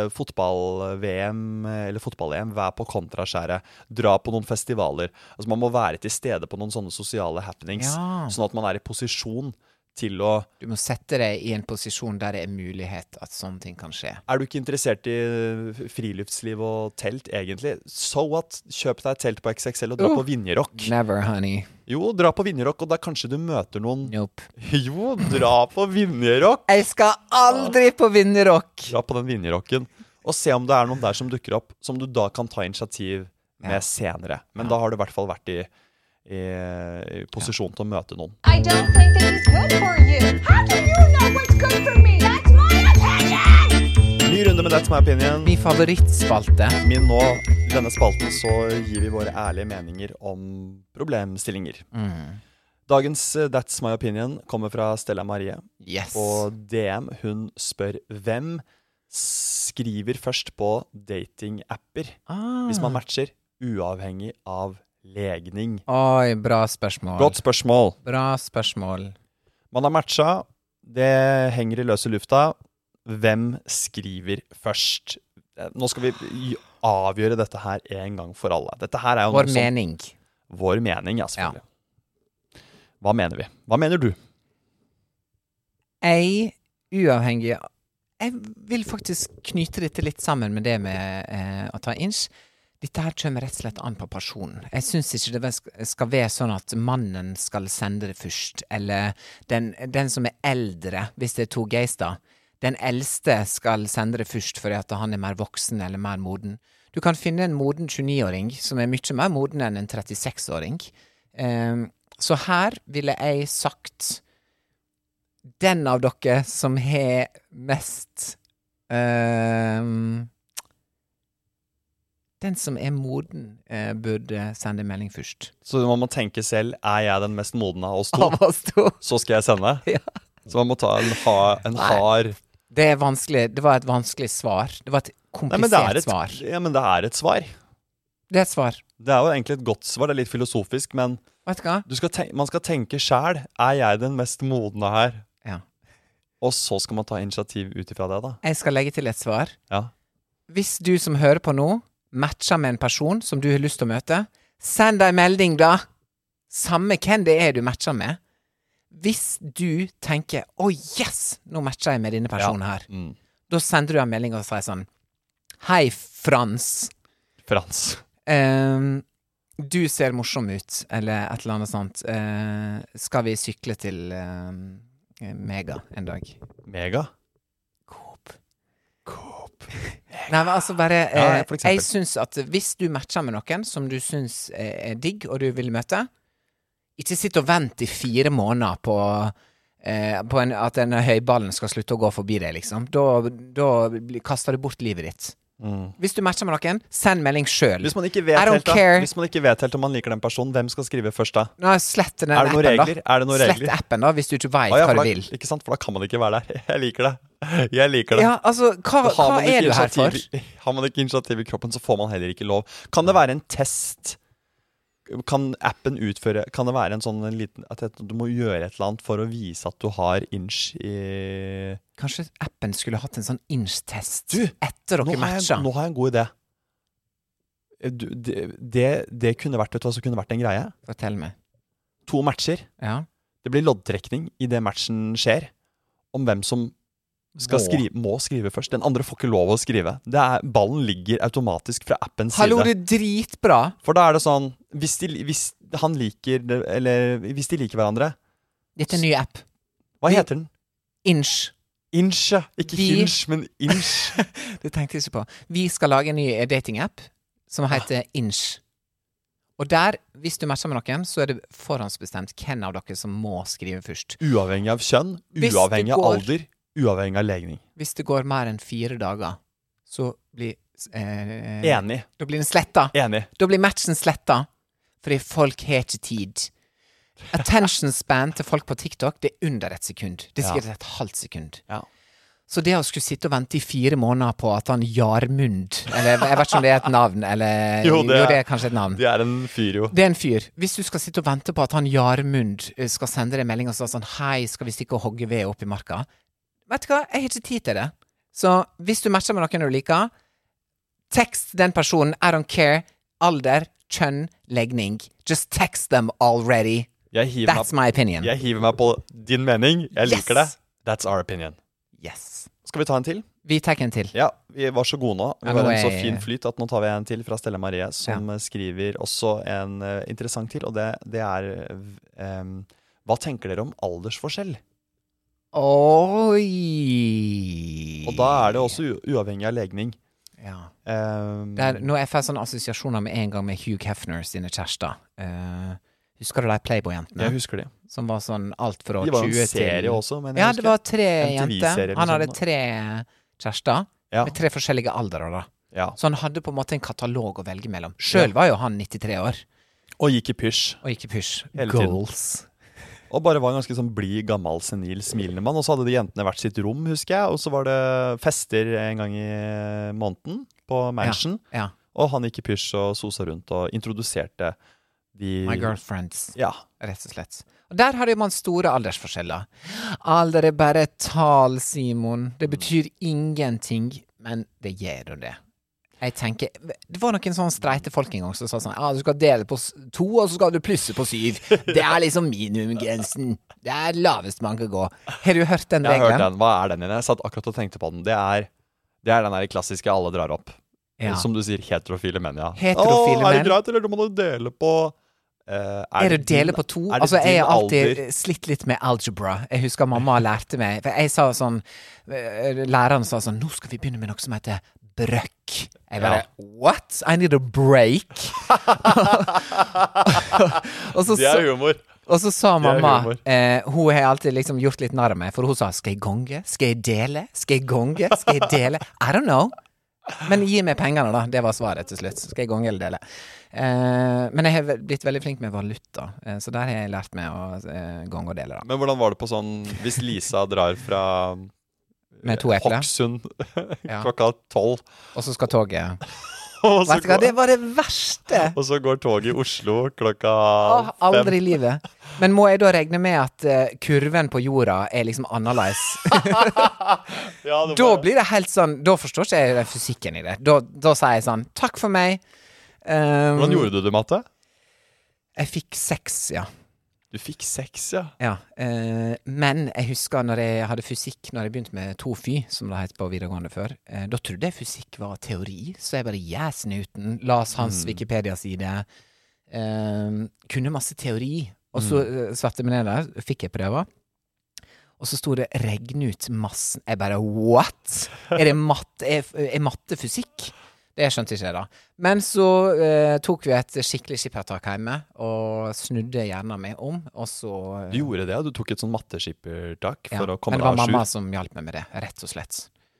A: fotball-VM eh, eller fotball-EM, vær på kontraskjæret, dra på noen festivaler. Altså man må være til stede på noen sånne sosiale happenings,
B: Ja.
A: sånn at man er i posisjon til å
B: Du må sette deg i en posisjon der det er mulighet at sånne ting kan skje.
A: Er du ikke interessert i eh, friluftsliv og telt, egentlig? So what? Kjøp deg et telt på XXL og dra
B: Uh.
A: på Vinjerock.
B: Never, honey.
A: Jo, dra på Vinjerock, og da kanskje du møter noen
B: Nope.
A: Jo, dra på Vinjerock!
B: Jeg skal aldri på vinnerrock!
A: Dra på den Vinjerocken. Og se om det er noen der som dukker opp, som du da kan ta initiativ med senere. Men da har du i hvert fall vært i, i, i posisjon til å møte noen.
D: I don't think this is good for you. How do you know what's good for me? That's my opinion!
A: Ny runde med That's my opinion.
B: Min favorittspalte.
A: Min nå, i denne spalten, så gir vi våre ærlige meninger om problemstillinger.
B: Mm.
A: Dagens eh, That's My Opinion kommer fra Stella Marie
B: Yes.
A: på DM. Hun spør hvem skriver først på datingapper
B: Ah.
A: hvis man matcher, uavhengig av legning.
B: Oi, bra spørsmål.
A: Godt spørsmål.
B: Bra spørsmål.
A: Man har matcha, det henger i løse lufta. Hvem skriver først? Eh, Nå skal vi avgjøre dette her en gang for alle. Dette her er jo
B: Vår
A: noe som
B: mening.
A: Vår mening, ja, selvfølgelig. Hva mener vi? Hva mener du?
B: Jeg, uavhengig Jeg vil faktisk knyte dette litt sammen med det med eh, å ta inch. Dette her kommer rett og slett an på personen. Jeg syns ikke det sk- skal være sånn at mannen skal sende det først, eller den, den som er eldre, hvis det er to gays, da. Den eldste skal sende det først fordi at han er mer voksen eller mer moden. Du kan finne en moden 29-åring som er mye mer moden enn en 36-åring. Ehm, så her ville jeg sagt den av dere som har mest ehm, Den som er moden, eh, burde sende melding først.
A: Så man må tenke selv er jeg den mest modne av oss to,
B: Av oss to.
A: så skal jeg sende.
B: Ja.
A: Så man må ta en, ha, en hard
B: Det er vanskelig. Det var et vanskelig svar. Det var et
A: Nei, men det
B: komplisert
A: er et,
B: svar.
A: ja, men det er et svar.
B: Det er et svar.
A: Det er jo egentlig et godt svar, det er litt filosofisk, men
B: Vet du hva?
A: du skal ten- man skal tenke sjæl. Er jeg den mest modne her?
B: Ja.
A: Og så skal man ta initiativ ut ifra det, da.
B: Jeg skal legge til et svar.
A: Ja.
B: Hvis du som hører på nå, matcher med en person som du har lyst til å møte, send deg melding, da! Samme hvem det er du matcher med. Hvis du tenker 'Å, yes! Nå matcher jeg med denne personen her',
A: Mm.
B: da sender du en melding og sier sånn 'Hei, Frans'.
A: Frans.
B: Ehm, du ser morsom ut, eller et eller annet sånt. Eh, skal vi sykle til ehm, Mega en dag?
A: Mega.
B: Coop. Nei, men altså bare eh,
A: Ja, for eksempel.
B: Jeg syns at hvis du matcher med noen som du syns eh, er digg, og du vil møte, ikke sitt og vent i fire måneder på eh, på en, at den høyballen skal slutte å gå forbi deg, liksom. Da, da blir- kaster du bort livet ditt. Hvis du matcher med noen, send melding sjøl.
A: Mm. Hvis man, ikke vet
B: I don't
A: helt, da,
B: care.
A: hvis man ikke vet helt om man liker den personen, hvem skal skrive først da?
B: Nå slett den
A: Er det
B: appen,
A: noen regler?
B: da.
A: Er det noen
B: Slett
A: regler?
B: appen, da, hvis du ikke veit
A: Ah, ja,
B: hva
A: for
B: du
A: da,
B: vil.
A: Ikke sant, for da kan man ikke være der. Jeg liker det. Jeg liker det.
B: Ja, altså, hva,
A: Har
B: hva
A: man ikke
B: er du her for?
A: initiativ i- Har man ikke initiativ i kroppen, så får man heller ikke lov. Kan det være en test? Kan appen utføre Kan det være en sånn en liten At et- du må gjøre et eller annet for å vise at du har inch i
B: Kanskje appen skulle hatt en sånn inch-test
A: Du,
B: etter
A: nå
B: dere
A: har,
B: matcha?
A: jeg, nå har jeg en god idé. Eh, Du, det, det, det kunne vært vet du hva som kunne vært en greie.
B: Fortell meg.
A: To matcher.
B: Ja.
A: Det blir loddtrekning idet matchen skjer, om hvem som skal
B: Må.
A: skrive, må skrive først. Den andre får ikke lov å skrive. Det er, ballen ligger automatisk fra appens
B: Hallo,
A: side.
B: det er dritbra!
A: For da er det sånn Hvis de, hvis han liker det- Eller hvis de liker hverandre
B: Dette er en ny app.
A: Hva
B: Vi-
A: heter den?
B: Inch.
A: Inch, ja. Ikke
B: Vi-
A: Hinch, men Inch.
B: Det tenkte jeg ikke på. Vi skal lage en ny eh, datingapp som heter Inch. Og der, hvis du matcher med noen, så er det forhåndsbestemt hvem av dere som må skrive først.
A: Uavhengig av kjønn,
B: Hvis det
A: uavhengig av
B: går-
A: alder, uavhengig av legning.
B: Hvis det går mer enn fire dager, så blir eh,
A: Enig.
B: Da blir den sletta.
A: Enig.
B: Da blir matchen sletta, fordi folk har ikke tid. Attention span til folk på TikTok Det er under et sekund. Det er sikkert et halvt sekund.
A: Ja.
B: Så det å skulle sitte og vente i fire måneder på at han Jarmund Eller jeg vet ikke om det er et navn, eller
A: Jo, det er-
B: er kanskje et navn.
A: Det er en fyr, jo.
B: Det er en fyr. Hvis du skal sitte og vente på at han Jarmund eh, skal sende deg en melding og si sånn Hei, skal vi stikke og hogge ved opp i marka? Vet du hva, jeg har ikke tid til det. Så hvis du matcher med noen du liker, tekst den personen. I don't care. Alder, kjønn, legning. Just text them already.
A: Jeg hiver,
B: That's
A: meg,
B: my opinion.
A: jeg hiver meg på din mening. Jeg
B: Yes.
A: liker det. That's our opinion.
B: Yes.
A: Skal vi ta en til?
B: Vi tar en til.
A: Ja, vi var så gode nå. Vi
B: Ja,
A: var
B: nå
A: en så
B: er-
A: fin flyt at nå tar vi en til fra Stella Marie, som eh, skriver også en eh, interessant til, og det, det er eh, em, Hva tenker dere om aldersforskjell?
B: Oi.
A: Og da er det også u uavhengig av legning.
B: ja.
A: Em,
B: Det er, nå jeg får sånne assosiasjoner med en gang med Hugh Hefner sine kjærester. Eh, husker du de Playboy-jentene?
A: jeg husker de.
B: Som var sånn alt fra 20
A: De
B: til
A: var jo en serie også, men jeg
B: Ja, det
A: husker
B: var tre
A: MTV-serie
B: jenter.
A: eller
B: Han hadde
A: sånn, da.
B: tre kjærester
A: ja,
B: med tre forskjellige alderer, da.
A: ja.
B: Så han hadde på en måte en katalog å velge mellom. Sjøl var jo han 93 år,
A: Og gikk i pysj.
B: og ikke pysj.
A: Hele tiden.
B: Goals.
A: Og bare var en ganske sånn blid, gammel, senil, smilende mann. Og så hadde de jentene hvert sitt rom, husker jeg. Og så var det fester en gang i måneden på mansion.
B: Ja.
A: Og han gikk i pysj og sosa rundt og introduserte de
B: My girlfriends,
A: Ja.
B: rett og slett. Og der hadde man store aldersforskjeller. Alder er bare et tall, Simon. Det betyr ingenting, men det gjør jo det. Jeg tenker, Det var noen sånne streite folk en gang som sa sånn Ja, du skal dele på s- to, og så skal du plusse på syv. Det er liksom minimumgrensen. Det er lavest man kan gå. Har du hørt den
A: Jeg har hørt
B: regelen?
A: den. Hva er den igjen? Jeg satt akkurat og tenkte på den. Det er, det er den der klassiske alle drar opp. Eh,
B: Ja.
A: Som du sier, heterofile menn, ja.
B: Heterofile
A: Å, Er
B: menn.
A: det greit, eller du må du dele på eh,
B: Er det å
A: din-
B: dele på to?
A: er det
B: altså, jeg
A: din
B: har alltid
A: alder?
B: slitt litt med algebra. Jeg husker mamma lærte meg For jeg sa sånn eh, Læreren sa sånn Nå skal vi begynne med noe som heter brøkk. Jeg bare What? I need a break. og, så,
A: Det er
B: sa-
A: humor.
B: og så sa
A: det er
B: mamma
A: humor.
B: eh, Hun har alltid liksom gjort litt narr av meg, for hun sa Skal jeg gonge? Skal jeg dele? Skal jeg gonge? Skal jeg dele? I don't know. Men gi meg pengene, da. Det var svaret til slutt. Skal jeg gange eller dele? Eh, men jeg har vel- blitt veldig flink med valuta, eh, så der har jeg lært meg å eh, gange og dele, da.
A: Men hvordan var det på sånn Hvis Lisa drar fra
B: Med
A: Eh,
B: to epler.
A: Hokksund
B: Ja.
A: klokka tolv,
B: Og så skal toget
A: og, så
B: Vet du hva,
A: går-
B: det var det verste!
A: og så går toget i Oslo klokka
B: Åh, aldri
A: fem
B: i livet. Men må jeg da regne med at eh, kurven på jorda er liksom annerledes?
A: Ja, det
B: da
A: var-
B: blir det helt sånn Da forstår ikke jeg den fysikken i det. Da, da sier jeg sånn Takk for meg. Um,
A: Hvordan gjorde du det, Matte?
B: Jeg fikk seks, ja.
A: Du fikk seks, ja.
B: Ja, eh, men jeg husker når jeg hadde fysikk, når jeg begynte med tofy, som det het på videregående før, eh, da trodde jeg fysikk var teori, så jeg bare yes, Newton, las hans Wikipedia-side, eh, kunne masse teori, og så eh, satte jeg meg ned der, fikk jeg prøver, og så sto det 'regn ut massen'. Jeg bare what?! Er det matte, er, er matte fysikk? Det skjønte ikke jeg, da. Men så eh, tok vi et skikkelig skippertak hjemme og snudde hjernen min om, og så eh,
A: Du gjorde det, ja. Du tok et sånn matteskippertak
B: ja,
A: for å komme
B: Men det var
A: deg à jour.
B: mamma som hjalp meg med det, rett og slett.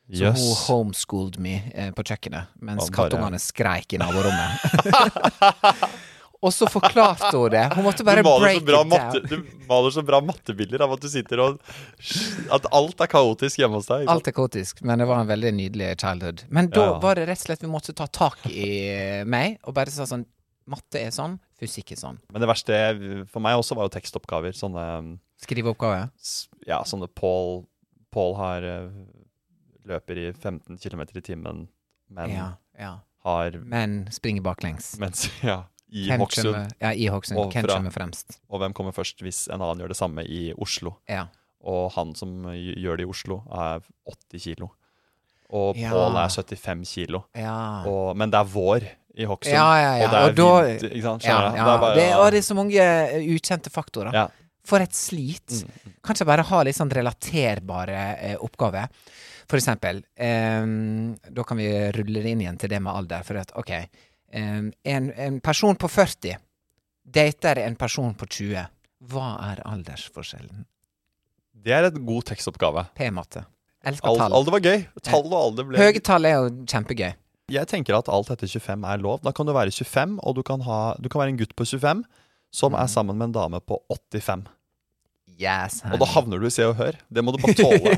B: Så
A: Jøss.
B: hun homeschooled meg eh, på kjøkkenet mens
A: Og bare-
B: kattungene skreik i naborommet. og så forklarte hun det. Hun måtte
A: Du
B: bare
A: maler,
B: break
A: så bra
B: it
A: matte,
B: down.
A: du maler så bra mattebilder av at du sitter og At alt er kaotisk hjemme hos deg. Ikke sant?
B: Alt er kaotisk, men det var en veldig nydelig childhood. Men da
A: Ja, ja.
B: var det rett og slett vi måtte ta tak i eh, meg og bare sa sånn Matte er sånn, fysikk er sånn.
A: Men det verste for meg også var jo tekstoppgaver. Sånne
B: Skriveoppgave.
A: s- Ja, sånne Paul Paul har eh, løper i 15 km i timen, men
B: Ja, ja.
A: har
B: Men springer baklengs.
A: mens, ja, I
B: Hvem
A: Hokksund.
B: kommer- Ja, i Hokksund. Hvem
A: Overfra.
B: kommer fremst?
A: Og hvem kommer først hvis en annen gjør det samme i Oslo?
B: Ja.
A: Og han som gj- gjør det i Oslo, er 80 kilo. Og
B: Ja.
A: Paul er 75 kilo.
B: ja.
A: Og, men det er vår i Hokksund.
B: Ja, ja, ja.
A: Og det er
B: Og da-
A: vinter. Ikke sant?
B: Ja,
A: Skjønner du?
B: ja.
A: Det er bare,
B: det, og det er så mange eh, ukjente faktorer.
A: Ja. Mm,
B: For et slit. Kanskje bare ha litt sånn relaterbare eh, oppgaver. For eksempel, ehm, da kan vi rulle det inn igjen til det med alder. For at, ok, ehm, en, en person på 40 dater en person på 20. Hva er aldersforskjellen?
A: det er et god tekstoppgave.
B: P-matte. Elsker
A: Al-
B: tall.
A: Alder var gøy. Tall og alder ble
B: Høye tall er jo kjempegøy.
A: Jeg tenker at alt etter 25 er lov. Da kan du være 25, og du kan, ha, du kan være en gutt på 25 som
B: Mm.
A: er sammen med en dame på 85.
B: Yes,
A: Og da havner du i Se og Hør. Det må du bare tåle.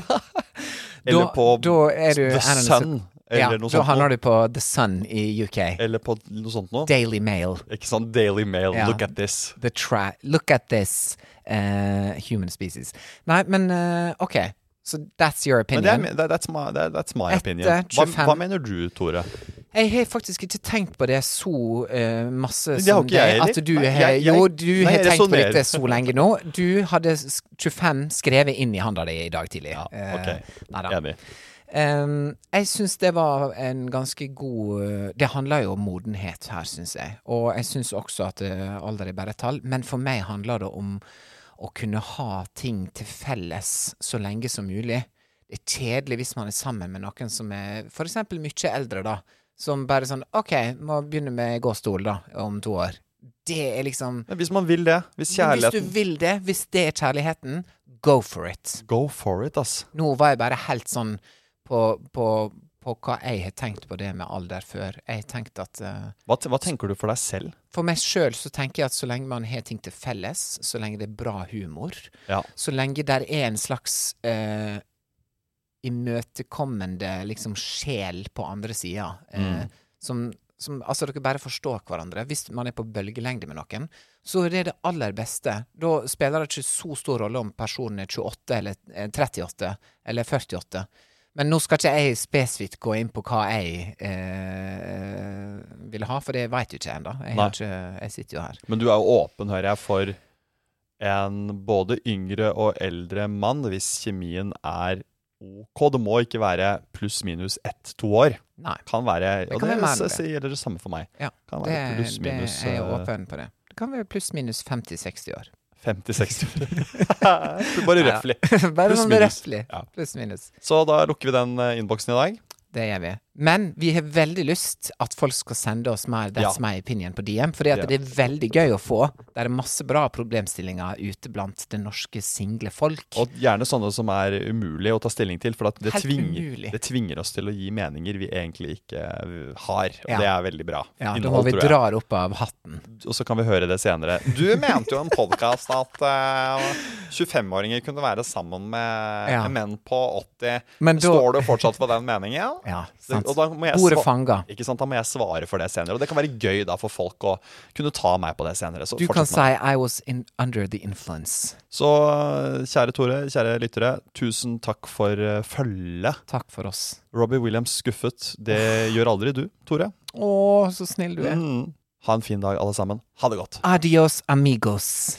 A: Eller på
B: da er du
A: The
B: Erlend-
A: Sun,
B: Ja,
A: eller noe
B: da
A: sånt. Eh.
B: handler du på The Sun i UK.
A: Eller på noe sånt noe.
B: Daily Mail.
A: Ikke sant? Daily Mail,
B: Ja.
A: look at this.
B: The tra Look at this eh, human species. Nei, men eh, OK. So that's your
A: Men det er,
B: opinion.
A: mi- that- that's my, that- that's my
B: Etter
A: opinion. Hva,
B: 25.
A: hva mener du, Tore?
B: Jeg har faktisk ikke tenkt på det så eh, masse
A: Det har
B: som
A: ikke
B: det.
A: jeg heller.
B: At du
A: Nei,
B: har
A: jeg- jeg-
B: Jo, du
A: nei,
B: har
A: jeg
B: tenkt på
A: resonnerer.
B: dette så lenge nå. Du hadde s- 25 skrevet inn i handa di i dag tidlig.
A: Ja,
B: Eh,
A: ok.
B: neida.
A: Enig.
B: Ehm, jeg syns det var en ganske god eh, Det handler jo om modenhet her, syns jeg. Og jeg syns også at eh, alder er bare et tall. Men for meg handler det om å kunne ha ting til felles så lenge som mulig. Det er kjedelig hvis man er sammen med noen som er for eksempel mye eldre, da. Som bare sånn OK, må begynne med gåstol, da, om to år. Det er liksom
A: Men hvis man vil det, hvis
B: Men Hvis du
A: kjærligheten
B: vil det, hvis det er kjærligheten, go for it.
A: Go for it, ass.
B: Nå var jeg bare helt sånn på, på, på hva jeg har tenkt på det med alder før. Jeg har tenkt at eh,
A: Hva, t- hva tenker du for deg selv?
B: For meg sjøl så tenker jeg at så lenge man har ting til felles, så lenge det er bra humor,
A: Ja.
B: så lenge der er en slags eh, imøtekommende liksom sjel på andre sida, eh, som, som Altså, dere bare forstår hverandre. Hvis man er på bølgelengde med noen, så er det det aller beste. Da spiller det ikke så stor rolle om personen er 28 eller eh, 38 eller 48. Men nå skal ikke jeg spesifikt gå inn på hva jeg eh, vil ha, for det veit jo ikke jeg ennå. Jeg,
A: Nei.
B: har ikke, jeg sitter jo her.
A: Men du er jo åpen, hører jeg, for en både yngre og eldre mann, hvis kjemien er OK. Det må ikke være pluss-minus ett-to år.
B: Nei.
A: Kan være,
B: Det
A: og
B: kan
A: det,
B: være mer enn
A: s-
B: det.
A: sier det samme for meg.
B: Ja,
A: Kan
B: det,
A: være pluss,
B: det
A: minus,
B: er jeg
A: eh,
B: åpen på det. Det kan være pluss-minus 50-60 år.
A: 50-60 Bare
B: Ja.
A: røfflig.
B: Bare
A: Pluss,
B: sånn
A: minus.
B: røfflig.
A: Ja.
B: Pluss-minus.
A: Så da lukker vi den eh, innboksen i dag.
B: Det gjør vi. Men vi har veldig lyst at folk skal sende oss mer That's
A: Ja.
B: My Opinion på DM, fordi at
A: Ja.
B: det er veldig gøy å få. Det er masse bra problemstillinger ute blant det norske single folk.
A: Og gjerne sånne som er umulig å ta stilling til, for at det,
B: Helt
A: tvinger,
B: umulig.
A: det tvinger oss til å gi meninger vi egentlig ikke eh, har. Og
B: Ja.
A: det er veldig bra.
B: ja, da må
A: Innhold,
B: vi
A: tror jeg.
B: dra det opp av hatten.
A: Og så kan vi høre det senere. Du mente jo i en podkast at eh, 25-åringer kunne være sammen med
B: Ja.
A: menn på 80.
B: Men da-
A: Står du fortsatt for den meningen?
B: Ja,
A: Det-
B: sant.
A: og da må jeg
B: Bordet
A: sva-
B: fanga.
A: Ikke sant? Da må jeg svare for det senere. Og det kan være gøy da for folk å kunne ta meg på det senere. Så
B: Du kan
A: fortsett
B: si
A: med det.
B: 'I was in, under the influence'.
A: Så eh, kjære Tore, kjære lyttere, tusen takk for eh, følget.
B: Takk for oss.
A: Robbie Williams skuffet. Det gjør aldri du, Tore.
B: Å, så snill du er.
A: Mm. Ha en fin dag, alle sammen. Ha det godt.
B: Adios amigos.